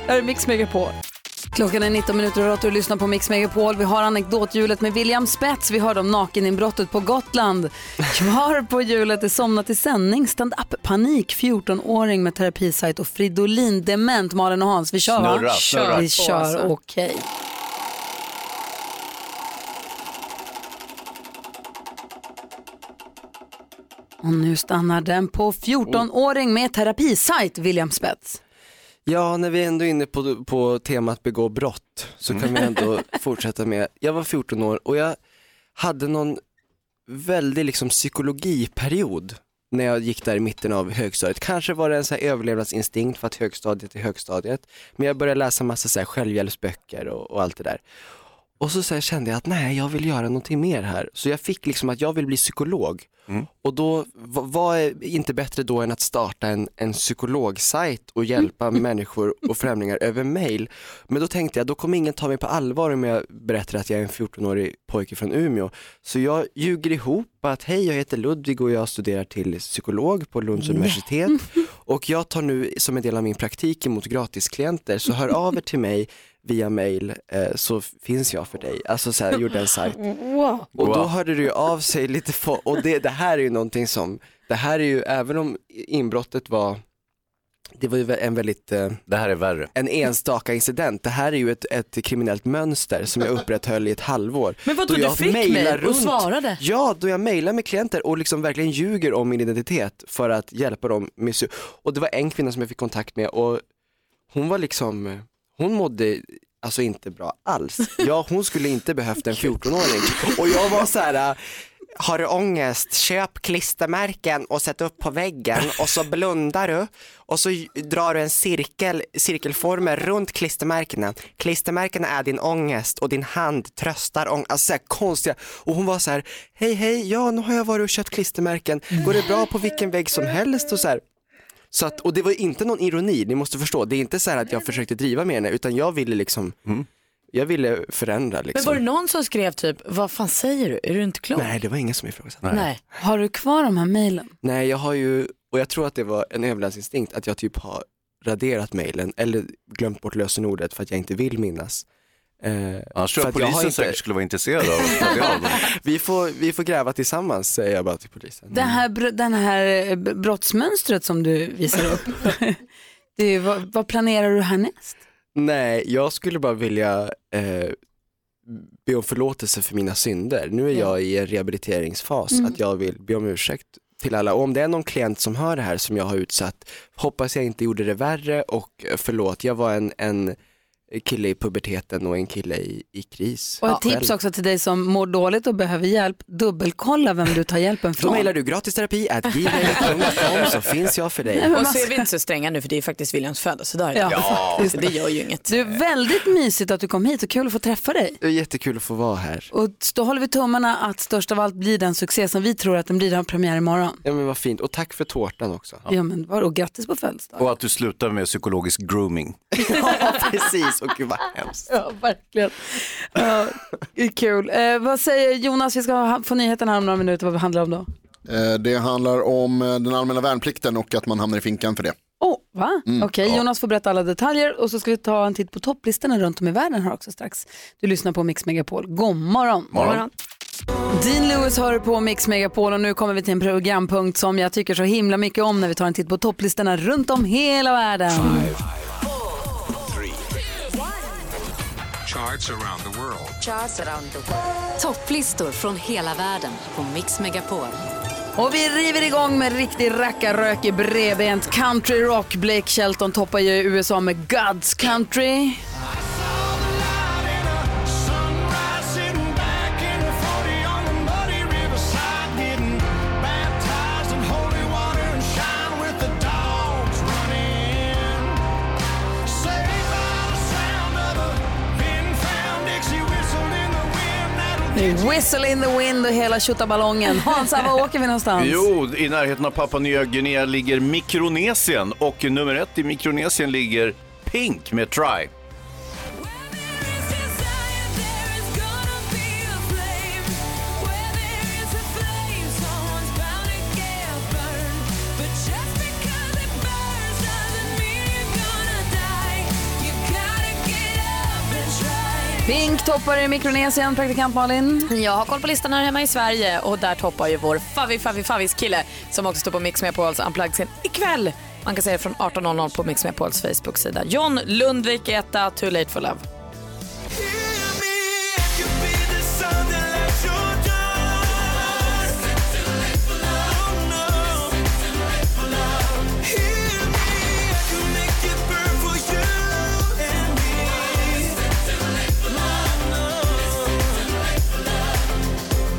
A: Här är Mix Megapol. Klockan är 19 minuter och åtta och du lyssnar på Mix Megapol. Vi har anekdothjulet med William Spets. Vi hörde om nakeninbrottet på Gotland. Kvar på hjulet är somnat i sändning, stand-up-panik, 14-åring med terapisajt och Fridolin, dement. Malin och Hans, vi kör va?
U: Snurra, snurra.
A: Vi
U: Kör på,
A: kör,
U: alltså.
A: okej. Och nu stannar den på 14-åring med terapisajt, William Spets.
K: Ja, när vi ändå är inne på, på temat begå brott så kan vi ändå fortsätta med, jag var 14 år och jag hade någon väldig liksom psykologiperiod när jag gick där i mitten av högstadiet. Kanske var det en så här överlevnadsinstinkt för att högstadiet är högstadiet, men jag började läsa massa så här självhjälpsböcker och, och allt det där. Och så, så här kände jag att nej, jag vill göra någonting mer här. Så jag fick liksom att jag vill bli psykolog. Och då, vad vad är inte bättre då än att starta en, en psykologsajt och hjälpa människor och främlingar över mail. Men då tänkte jag, då kommer ingen ta mig på allvar om jag berättar att jag är en 14-årig pojke från Umeå. Så jag ljuger ihop att hej, jag heter Ludvig och jag studerar till psykolog på Lunds universitet. Och jag tar nu som en del av min praktik emot gratisklienter, så hör av er till mig via mail eh, så finns jag för dig. Alltså så här, jag gjorde en sajt.
A: Wow.
K: Och då hörde du ju av sig lite få, och det, det här är ju någonting som, det här är ju, även om inbrottet var, det var ju en väldigt, det här är värre. En enstaka incident, det här är ju ett, ett kriminellt mönster som jag upprätthöll i ett halvår.
U: Men vadå,
K: Då
U: du
K: jag
U: fick
K: mejlar
U: mejl och svarade?
K: Ja, då jag mejlar med klienter och liksom verkligen ljuger om min identitet för att hjälpa dem med sy- Och det var en kvinna som jag fick kontakt med och hon var liksom, hon mådde alltså inte bra alls. Ja, hon skulle inte behövt en 14-åring. Och jag var så här, äh, har du ångest, köp klistermärken och sätt upp på väggen och så blundar du och så drar du en cirkel, cirkelformer runt klistermärkena. Klistermärkena är din ångest och din hand tröstar ångest. Alltså så här konstiga. Och hon var så här, hej hej, ja nu har jag varit och köpt klistermärken. Går det bra på vilken vägg som helst och så här. Så att, och det var inte någon ironi, ni måste förstå. Det är inte så här att jag försökte driva med henne utan jag ville liksom, jag ville förändra liksom.
D: Men var det någon som skrev typ, vad fan säger du, är du inte klok?
K: Nej, det var ingen som ifrågasatte.
D: Nej.
A: Har du kvar de här mejlen?
K: Nej, jag har ju, och jag tror att det var en överlevnadsinstinkt att jag typ har raderat mejlen eller glömt bort lösenordet för att jag inte vill minnas. Eh,
C: Annars tror
K: för
C: jag
K: att har
C: polisen säkert skulle vara intresserad av att ta del av dem.
K: vi, får, vi får gräva tillsammans säger jag bara till polisen.
A: Det här, br- den här eh, b- brottsmönstret som du visar upp, det är, vad, vad planerar du härnäst?
K: Nej, jag skulle bara vilja eh, be om förlåtelse för mina synder. Nu är jag i en rehabiliteringsfas,
A: Mm.
K: att jag vill be om ursäkt till alla. Och om det är någon klient som hör det här som jag har utsatt, hoppas jag inte gjorde det värre och eh, förlåt, jag var en, en kille i puberteten och en kille i, i kris.
A: Och ett tips också till dig som mår dåligt och behöver hjälp, dubbelkolla vem du tar hjälpen
K: Då
A: från.
K: mejlar du gratisterapi at gmail.com så finns jag för dig.
D: Och så är vi inte så stränga nu för det är faktiskt Williams födelsedag idag.
K: Ja.
D: Så det gör ju inget.
A: Du, väldigt mysigt att du kom hit och kul att få träffa dig.
K: Det är jättekul att få vara här.
A: Och då håller vi tummarna att störst av allt blir den succé som vi tror att den blir. Den har premiär imorgon.
K: Ja men vad fint, och tack för tårtan också.
A: Ja, men vadå, grattis på födelsedagen.
C: Och att du slutar med psykologisk grooming.
K: Ja precis, och gud vad hemskt.
A: Ja, verkligen. Ja, det är kul. Eh, vad säger Jonas, vi ska ha- få nyheten här om några minuter, vad det handlar om då?
F: Eh, Det handlar om eh, den allmänna värnplikten och att man hamnar i finkan för det.
A: Oh, va?
F: Mm,
A: Okej,
F: ja.
A: Jonas får berätta alla detaljer och så ska vi ta en titt på topplistorna runt om i världen här också strax. Du lyssnar på Mix Megapol. God morgon.
F: Morgon.
A: Dean Lewis hör på Mix Megapol och nu kommer vi till en programpunkt som jag tycker så himla mycket om när vi tar en titt på topplistorna runt om hela världen.
Q: Charts around the world.
I: Topplistor från hela världen på Mix Megapol.
A: Och vi river igång med riktig rackarrök i bredbent country rock. Blake Shelton toppar ju USA med God's Country. Det är Whistle in the wind och hela tjottaballongen. Hansa, var åker vi någonstans?
C: Jo, i närheten av Papua Nya Guinea ligger Mikronesien och nummer ett i Mikronesien ligger Pink med Try.
A: Pink toppar i Mikronesien, praktikant Malin.
D: Jag har koll på listan här hemma i Sverige och där toppar ju vår Favi Favi Favis kille som också står på Mix Megapols Unplugged-scen ikväll. Man kan se det från 18.00 på Mix Megapols Facebook-sida. John Lundvik är etta, Too Late For Love.
U: Oh,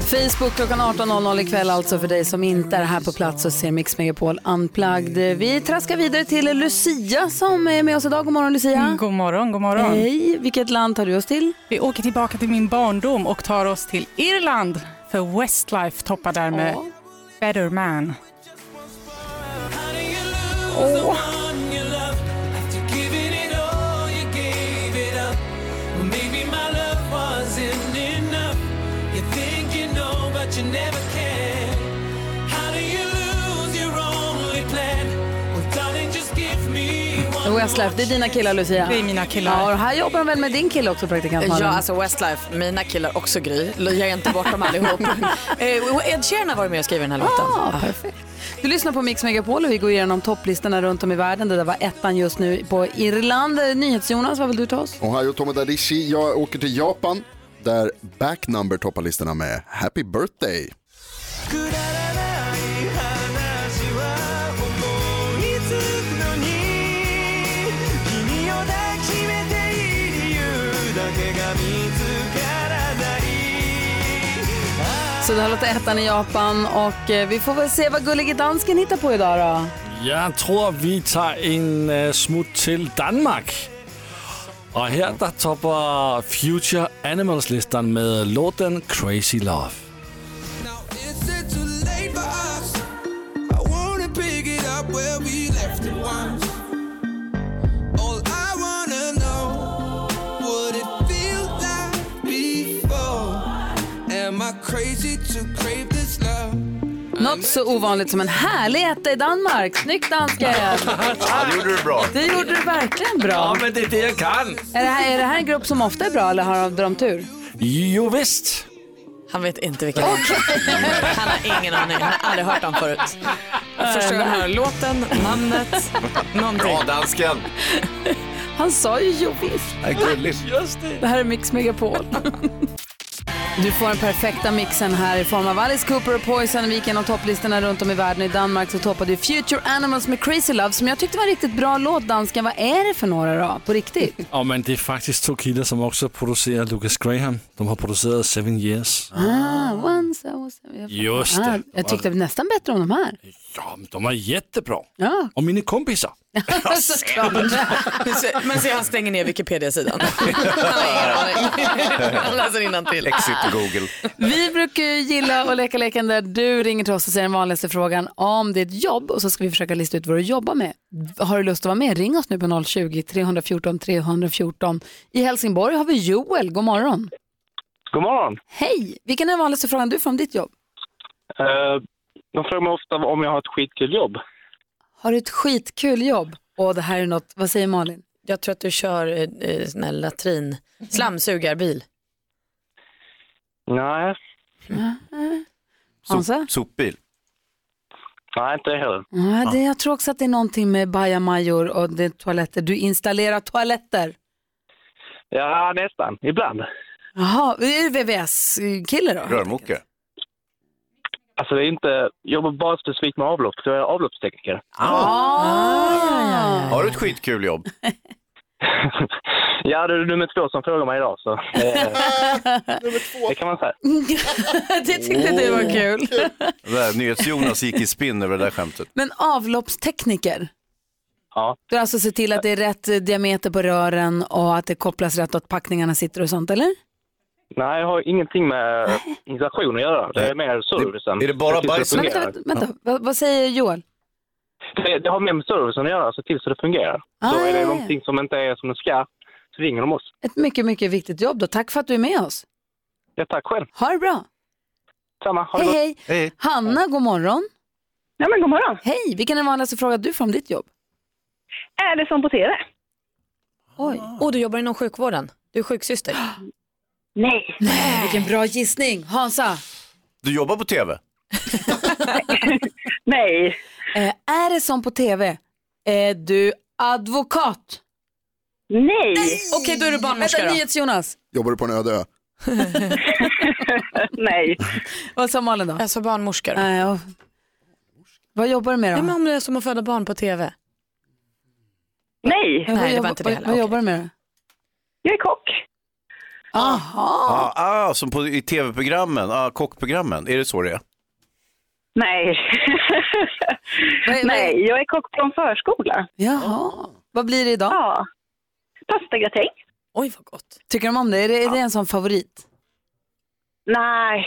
A: Facebook klockan 18.00 ikväll alltså för dig som inte är här på plats och ser Mix Megapol Unplugged. Vi traskar vidare till Lucia som är med oss idag. God morgon Lucia.
U: God morgon, god morgon.
A: Hej, vilket land tar du oss till?
U: Vi åker tillbaka till min barndom och tar oss till Irland. För Westlife toppar där med Better Man.
V: Åh.
A: Westlife, det är dina killar Lucia.
U: Mm. Det är mina killar.
A: Ja, och här jobbar de väl med din kille också praktikant Malin?
D: Ja, alltså Westlife, mina killar också Gry. Ge inte bort dem allihop. Eh, och Ed Sheeran har varit med och skrivit den här låten.
A: Ah, perfekt. Du lyssnar på Mix Megapol och vi går igenom topplistorna runt om i världen. Det där var ettan just nu på Irland. Eh, NyhetsJonas, vad vill du ta oss?
F: Ohio Tomodarishi, jag åker till Japan där Backnumber toppar listorna med Happy Birthday.
A: Så det här låter ettan i Japan och eh, vi får väl se vad gullige dansken hittar på idag då.
V: Jeg tror, vi tager en øh, smut til Danmark. Og her der topper Future Animals listen med låten Crazy Love.
H: Is it too late for us? I wanna pick it up where we left it once. All I wanna know, what it feel like before? Am I crazy to crave this love?
A: Något så ovanligt som en härlig etta i Danmark. Snyggt dansken!
C: Ja, det gjorde du bra.
A: Det gjorde du verkligen bra.
V: men det är det jag kan.
A: Är det, här, är det här en grupp som ofta är bra eller har de, de tur?
V: Jo visst.
D: Han vet inte vilka Han har ingen aning. Han har aldrig hört dem förut. Första gången han hör låten, namnet, någonting.
C: Bra dansken.
A: Han sa ju jo visst.
C: Det är gulligt.
A: Det här är Mix Megapol. Du får den perfekta mixen här i form av Alice Cooper och Poison. Vi gick igenom topplistorna runt om i världen. I Danmark så toppade ju Future Animals med Crazy Love som jag tyckte var en riktigt bra låt, dansken. Vad är det för några då? På riktigt?
V: Og men det er faktisk to kilder, som også producerer Lucas Graham. De har produceret Seven Years.
A: Ah, once I was... jag-
V: Mm. Just det.
A: Ah, jag tyckte nästan bättre om de här.
V: Jamen, de er jättebra.
A: Ja.
V: Og mine kompiser.
A: Såklart.
D: Men se, han stänger ner Wikipedia-sidan. Han har ingen aning. Han läser innantill.
C: Exit Google.
A: Vi brukar ju gilla att leka leken där du ringer till oss och säger den vanligaste frågan om ditt jobb och så ska vi försöka lista ut vad du jobbar med. Har du lust att vara med? Ring oss nu på 020-314 314. I Helsingborg har vi Joel, god morgon.
W: God morgon.
A: Hej, vilken är den vanligaste frågan du får om ditt jobb?
W: Eh, de frågar mig ofta om jag har ett skitkul jobb.
A: Har du ett skitkul jobb? Åh, det här är något, vad säger Malin?
D: Jag tror att du kör eh, eh, sån här latrin, slamsugarbil.
W: Nej,
A: Hansa?
C: Sopbil.
W: nej inte det heller.
A: Ja, det, jag tror också att det är någonting med bajamajor och det är toaletter. Du installerar toaletter.
W: Ja, nästan. Ibland.
A: Jaha, är du VVS-kille då?
C: Rörmokare.
W: Alltså det är inte, jag jobbar bara specifikt med avlopp, så jag är avloppstekniker.
A: Ah.
C: Ah, Har du ett skitkul jobb?
W: Ja, det är nummer två som frågar mig idag, så eh, det kan man säga.
A: det tyckte du var kul.
C: Det där, NyhetsJonas gick i spinn över det där skämtet.
A: Men avloppstekniker,
W: Ja,
A: du har alltså sett till att det är rätt eh, diameter på rören och att det kopplas rätt och att packningarna sitter och sånt, eller?
W: nej, jag har ingenting med installation att göra. Det är mer servicen.
C: Är det bara
W: Jag tycker
C: bajs?
W: fungerar.
A: Vänta, vänta, vänta. Vad, vad säger Joel?
W: Det, det har mer med servicen att göra, så till så det fungerar. så är
A: Ah, ja,
K: ja.
W: det någonting som inte är som det ska, så ringer de oss.
A: Ett mycket, mycket viktigt jobb då. Tack för att du är med oss.
W: Ja, tack själv.
A: Ha det bra.
W: Samma. Ha det
A: Hej,
W: gott.
A: hej. Hanna, god morgon.
B: Ja, men god morgon.
A: Hej, vilken är den vanligaste frågan du får om ditt jobb?
B: Är det som på TV?
A: Oj.
D: Och Oh, du jobbar inom sjukvården. Du är sjuksyster.
B: Nej.
A: Nej, vilken bra gissning. Hansa?
C: Du jobbar på tv?
B: Nej.
A: Eh, är det som på tv? Är du advokat?
B: Nej.
A: Okej, då är du barnmorska Vänta,
F: då.
A: NyhetsJonas.
F: Jobbar du på en öde ö?
B: Nej.
A: Vad sa Malin då?
D: Jag sa barnmorska.
A: Nej, ja. Vad jobbar du med då?
D: Ja, men om det är som att föda barn på tv.
B: Nej.
D: Nej, det var
A: jobbar-
D: inte det
A: vad-
D: heller.
A: Vad jobbar du med då?
B: Jag är kock.
A: Aha.
C: Ah, ah, som på, i tv-programmen, ah, kockprogrammen. Är det så det är?
B: Nej. Nej, jag är kock på en förskola.
A: Jaha. Vad blir det idag?
B: Ja. Pastagratäng.
D: Oj, vad gott.
A: Tycker de om det? Är det, är det en sån favorit?
B: Nej.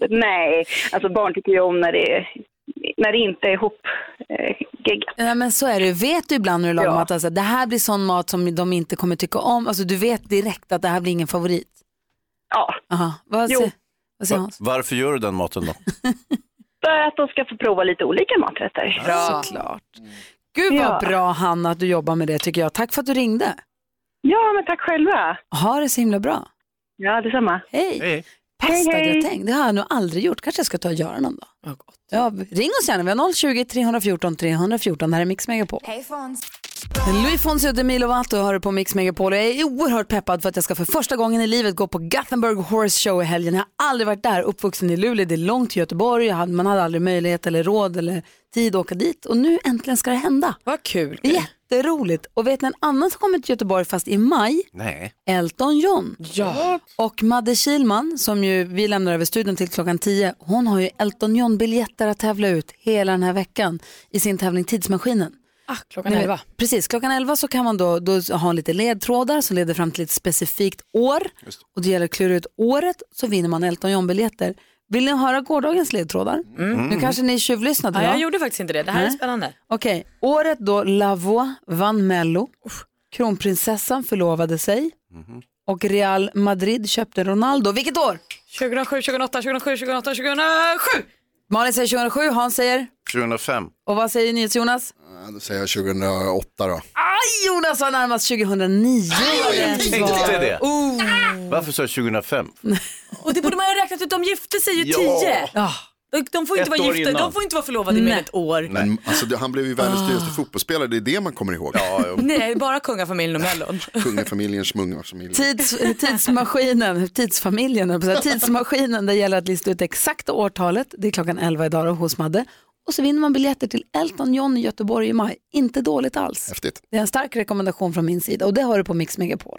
B: Nej, alltså barn tycker ju om när det, är- när det inte är ihop eh, gig.
A: Nej, men så är det. Vet du ibland när du lagar mat, alltså, det här blir sån mat som de inte kommer tycka om? Alltså, du vet direkt att det här blir ingen favorit?
B: Ja.
A: Aha. Vad,
B: Jo.
A: se, vad säger
C: Va-
A: Hans?
C: Varför gör du den maten då?
B: För att de ska få prova lite olika maträtter.
A: Bra. Såklart. Gud vad
B: Ja.
A: bra Hanna att du jobbar med det tycker jag. Tack för att du ringde.
B: Ja, men tack själva.
A: Ha det så himla bra.
B: Ja, detsamma.
A: Hej.
C: Hej.
A: Pastagratäng, det har jag nog aldrig gjort. Kanske jag ska ta och göra någon dag. Ja, ring oss gärna, vi har 020 314 314. Det här är Mix Megapol.
X: Hej Fons!
A: Louis Fonsi och Demi Lovato har du på Mix Megapol och jag är oerhört peppad för att jag ska för första gången i livet gå på Gothenburg Horse Show i helgen. Jag har aldrig varit där, uppvuxen i Luleå, det är långt till Göteborg, jag hade, man hade aldrig möjlighet eller råd eller tid att åka dit och nu äntligen ska det hända.
D: Vad kul!
A: Det är jätteroligt. Och vet ni en annan som kommer till Göteborg fast i maj?
C: Nej.
A: Elton John. Ja. Och Madde Kilman, som ju vi lämnar över studion till klockan 10, hon har ju Elton John-biljetter att tävla ut hela den här veckan i sin tävling Tidsmaskinen.
D: Ah, klockan
A: Ni vet-
D: elva.
A: Precis, klockan 11 så kan man då, då ha lite ledtrådar som leder fram till ett specifikt år. Och det gäller att klura ut året så vinner man Elton John-biljetter. Vill ni höra gårdagens ledtrådar?
D: Mm.
A: Nu kanske ni tjuvlyssnade
D: Ja,
A: va?
D: jag gjorde faktiskt inte det. Det här är
A: Nej.
D: spännande.
A: Okej, året då Lavoie vann Mello, kronprinsessan förlovade sig och Real Madrid köpte Ronaldo. Vilket år?
D: 2007, 2008, 2007, 2008, 2007!
A: Malin säger 2007, Hans säger.
C: 2005.
A: Och vad säger NyhetsJonas?
F: Ja, Då säger jag 2008 då.
A: Aj, Jonas var närmast 2009.
C: Jag tänkte det.
A: Oh.
C: Varför sa jag 2005?
D: Och det borde man ju ha räknat ut. De gifte sig ju
C: Ja.
D: tio. Och De får inte
C: Ett
D: vara
C: år
D: gifta,
C: innan.
D: de får inte vara förlovade mer än ett år.
F: Men, alltså, det- han blev ju
G: Ah.
F: världens dyraste fotbollsspelare, det är det man kommer ihåg. Ja,
D: Nej, bara kungafamiljen och Mellon.
F: Kungafamiljen, smungafamiljen.
A: Tids, eh, tidsmaskinen, tidsfamiljen, höll jag på att säga. tidsmaskinen, där gäller att lista ut det exakta årtalet. Det är klockan 11 idag då, hos Madde. Och så vinner man biljetter till Elton John i Göteborg i maj. Inte dåligt alls.
F: Häftigt.
A: Det är en stark rekommendation från min sida och det har du på Mix Megapol.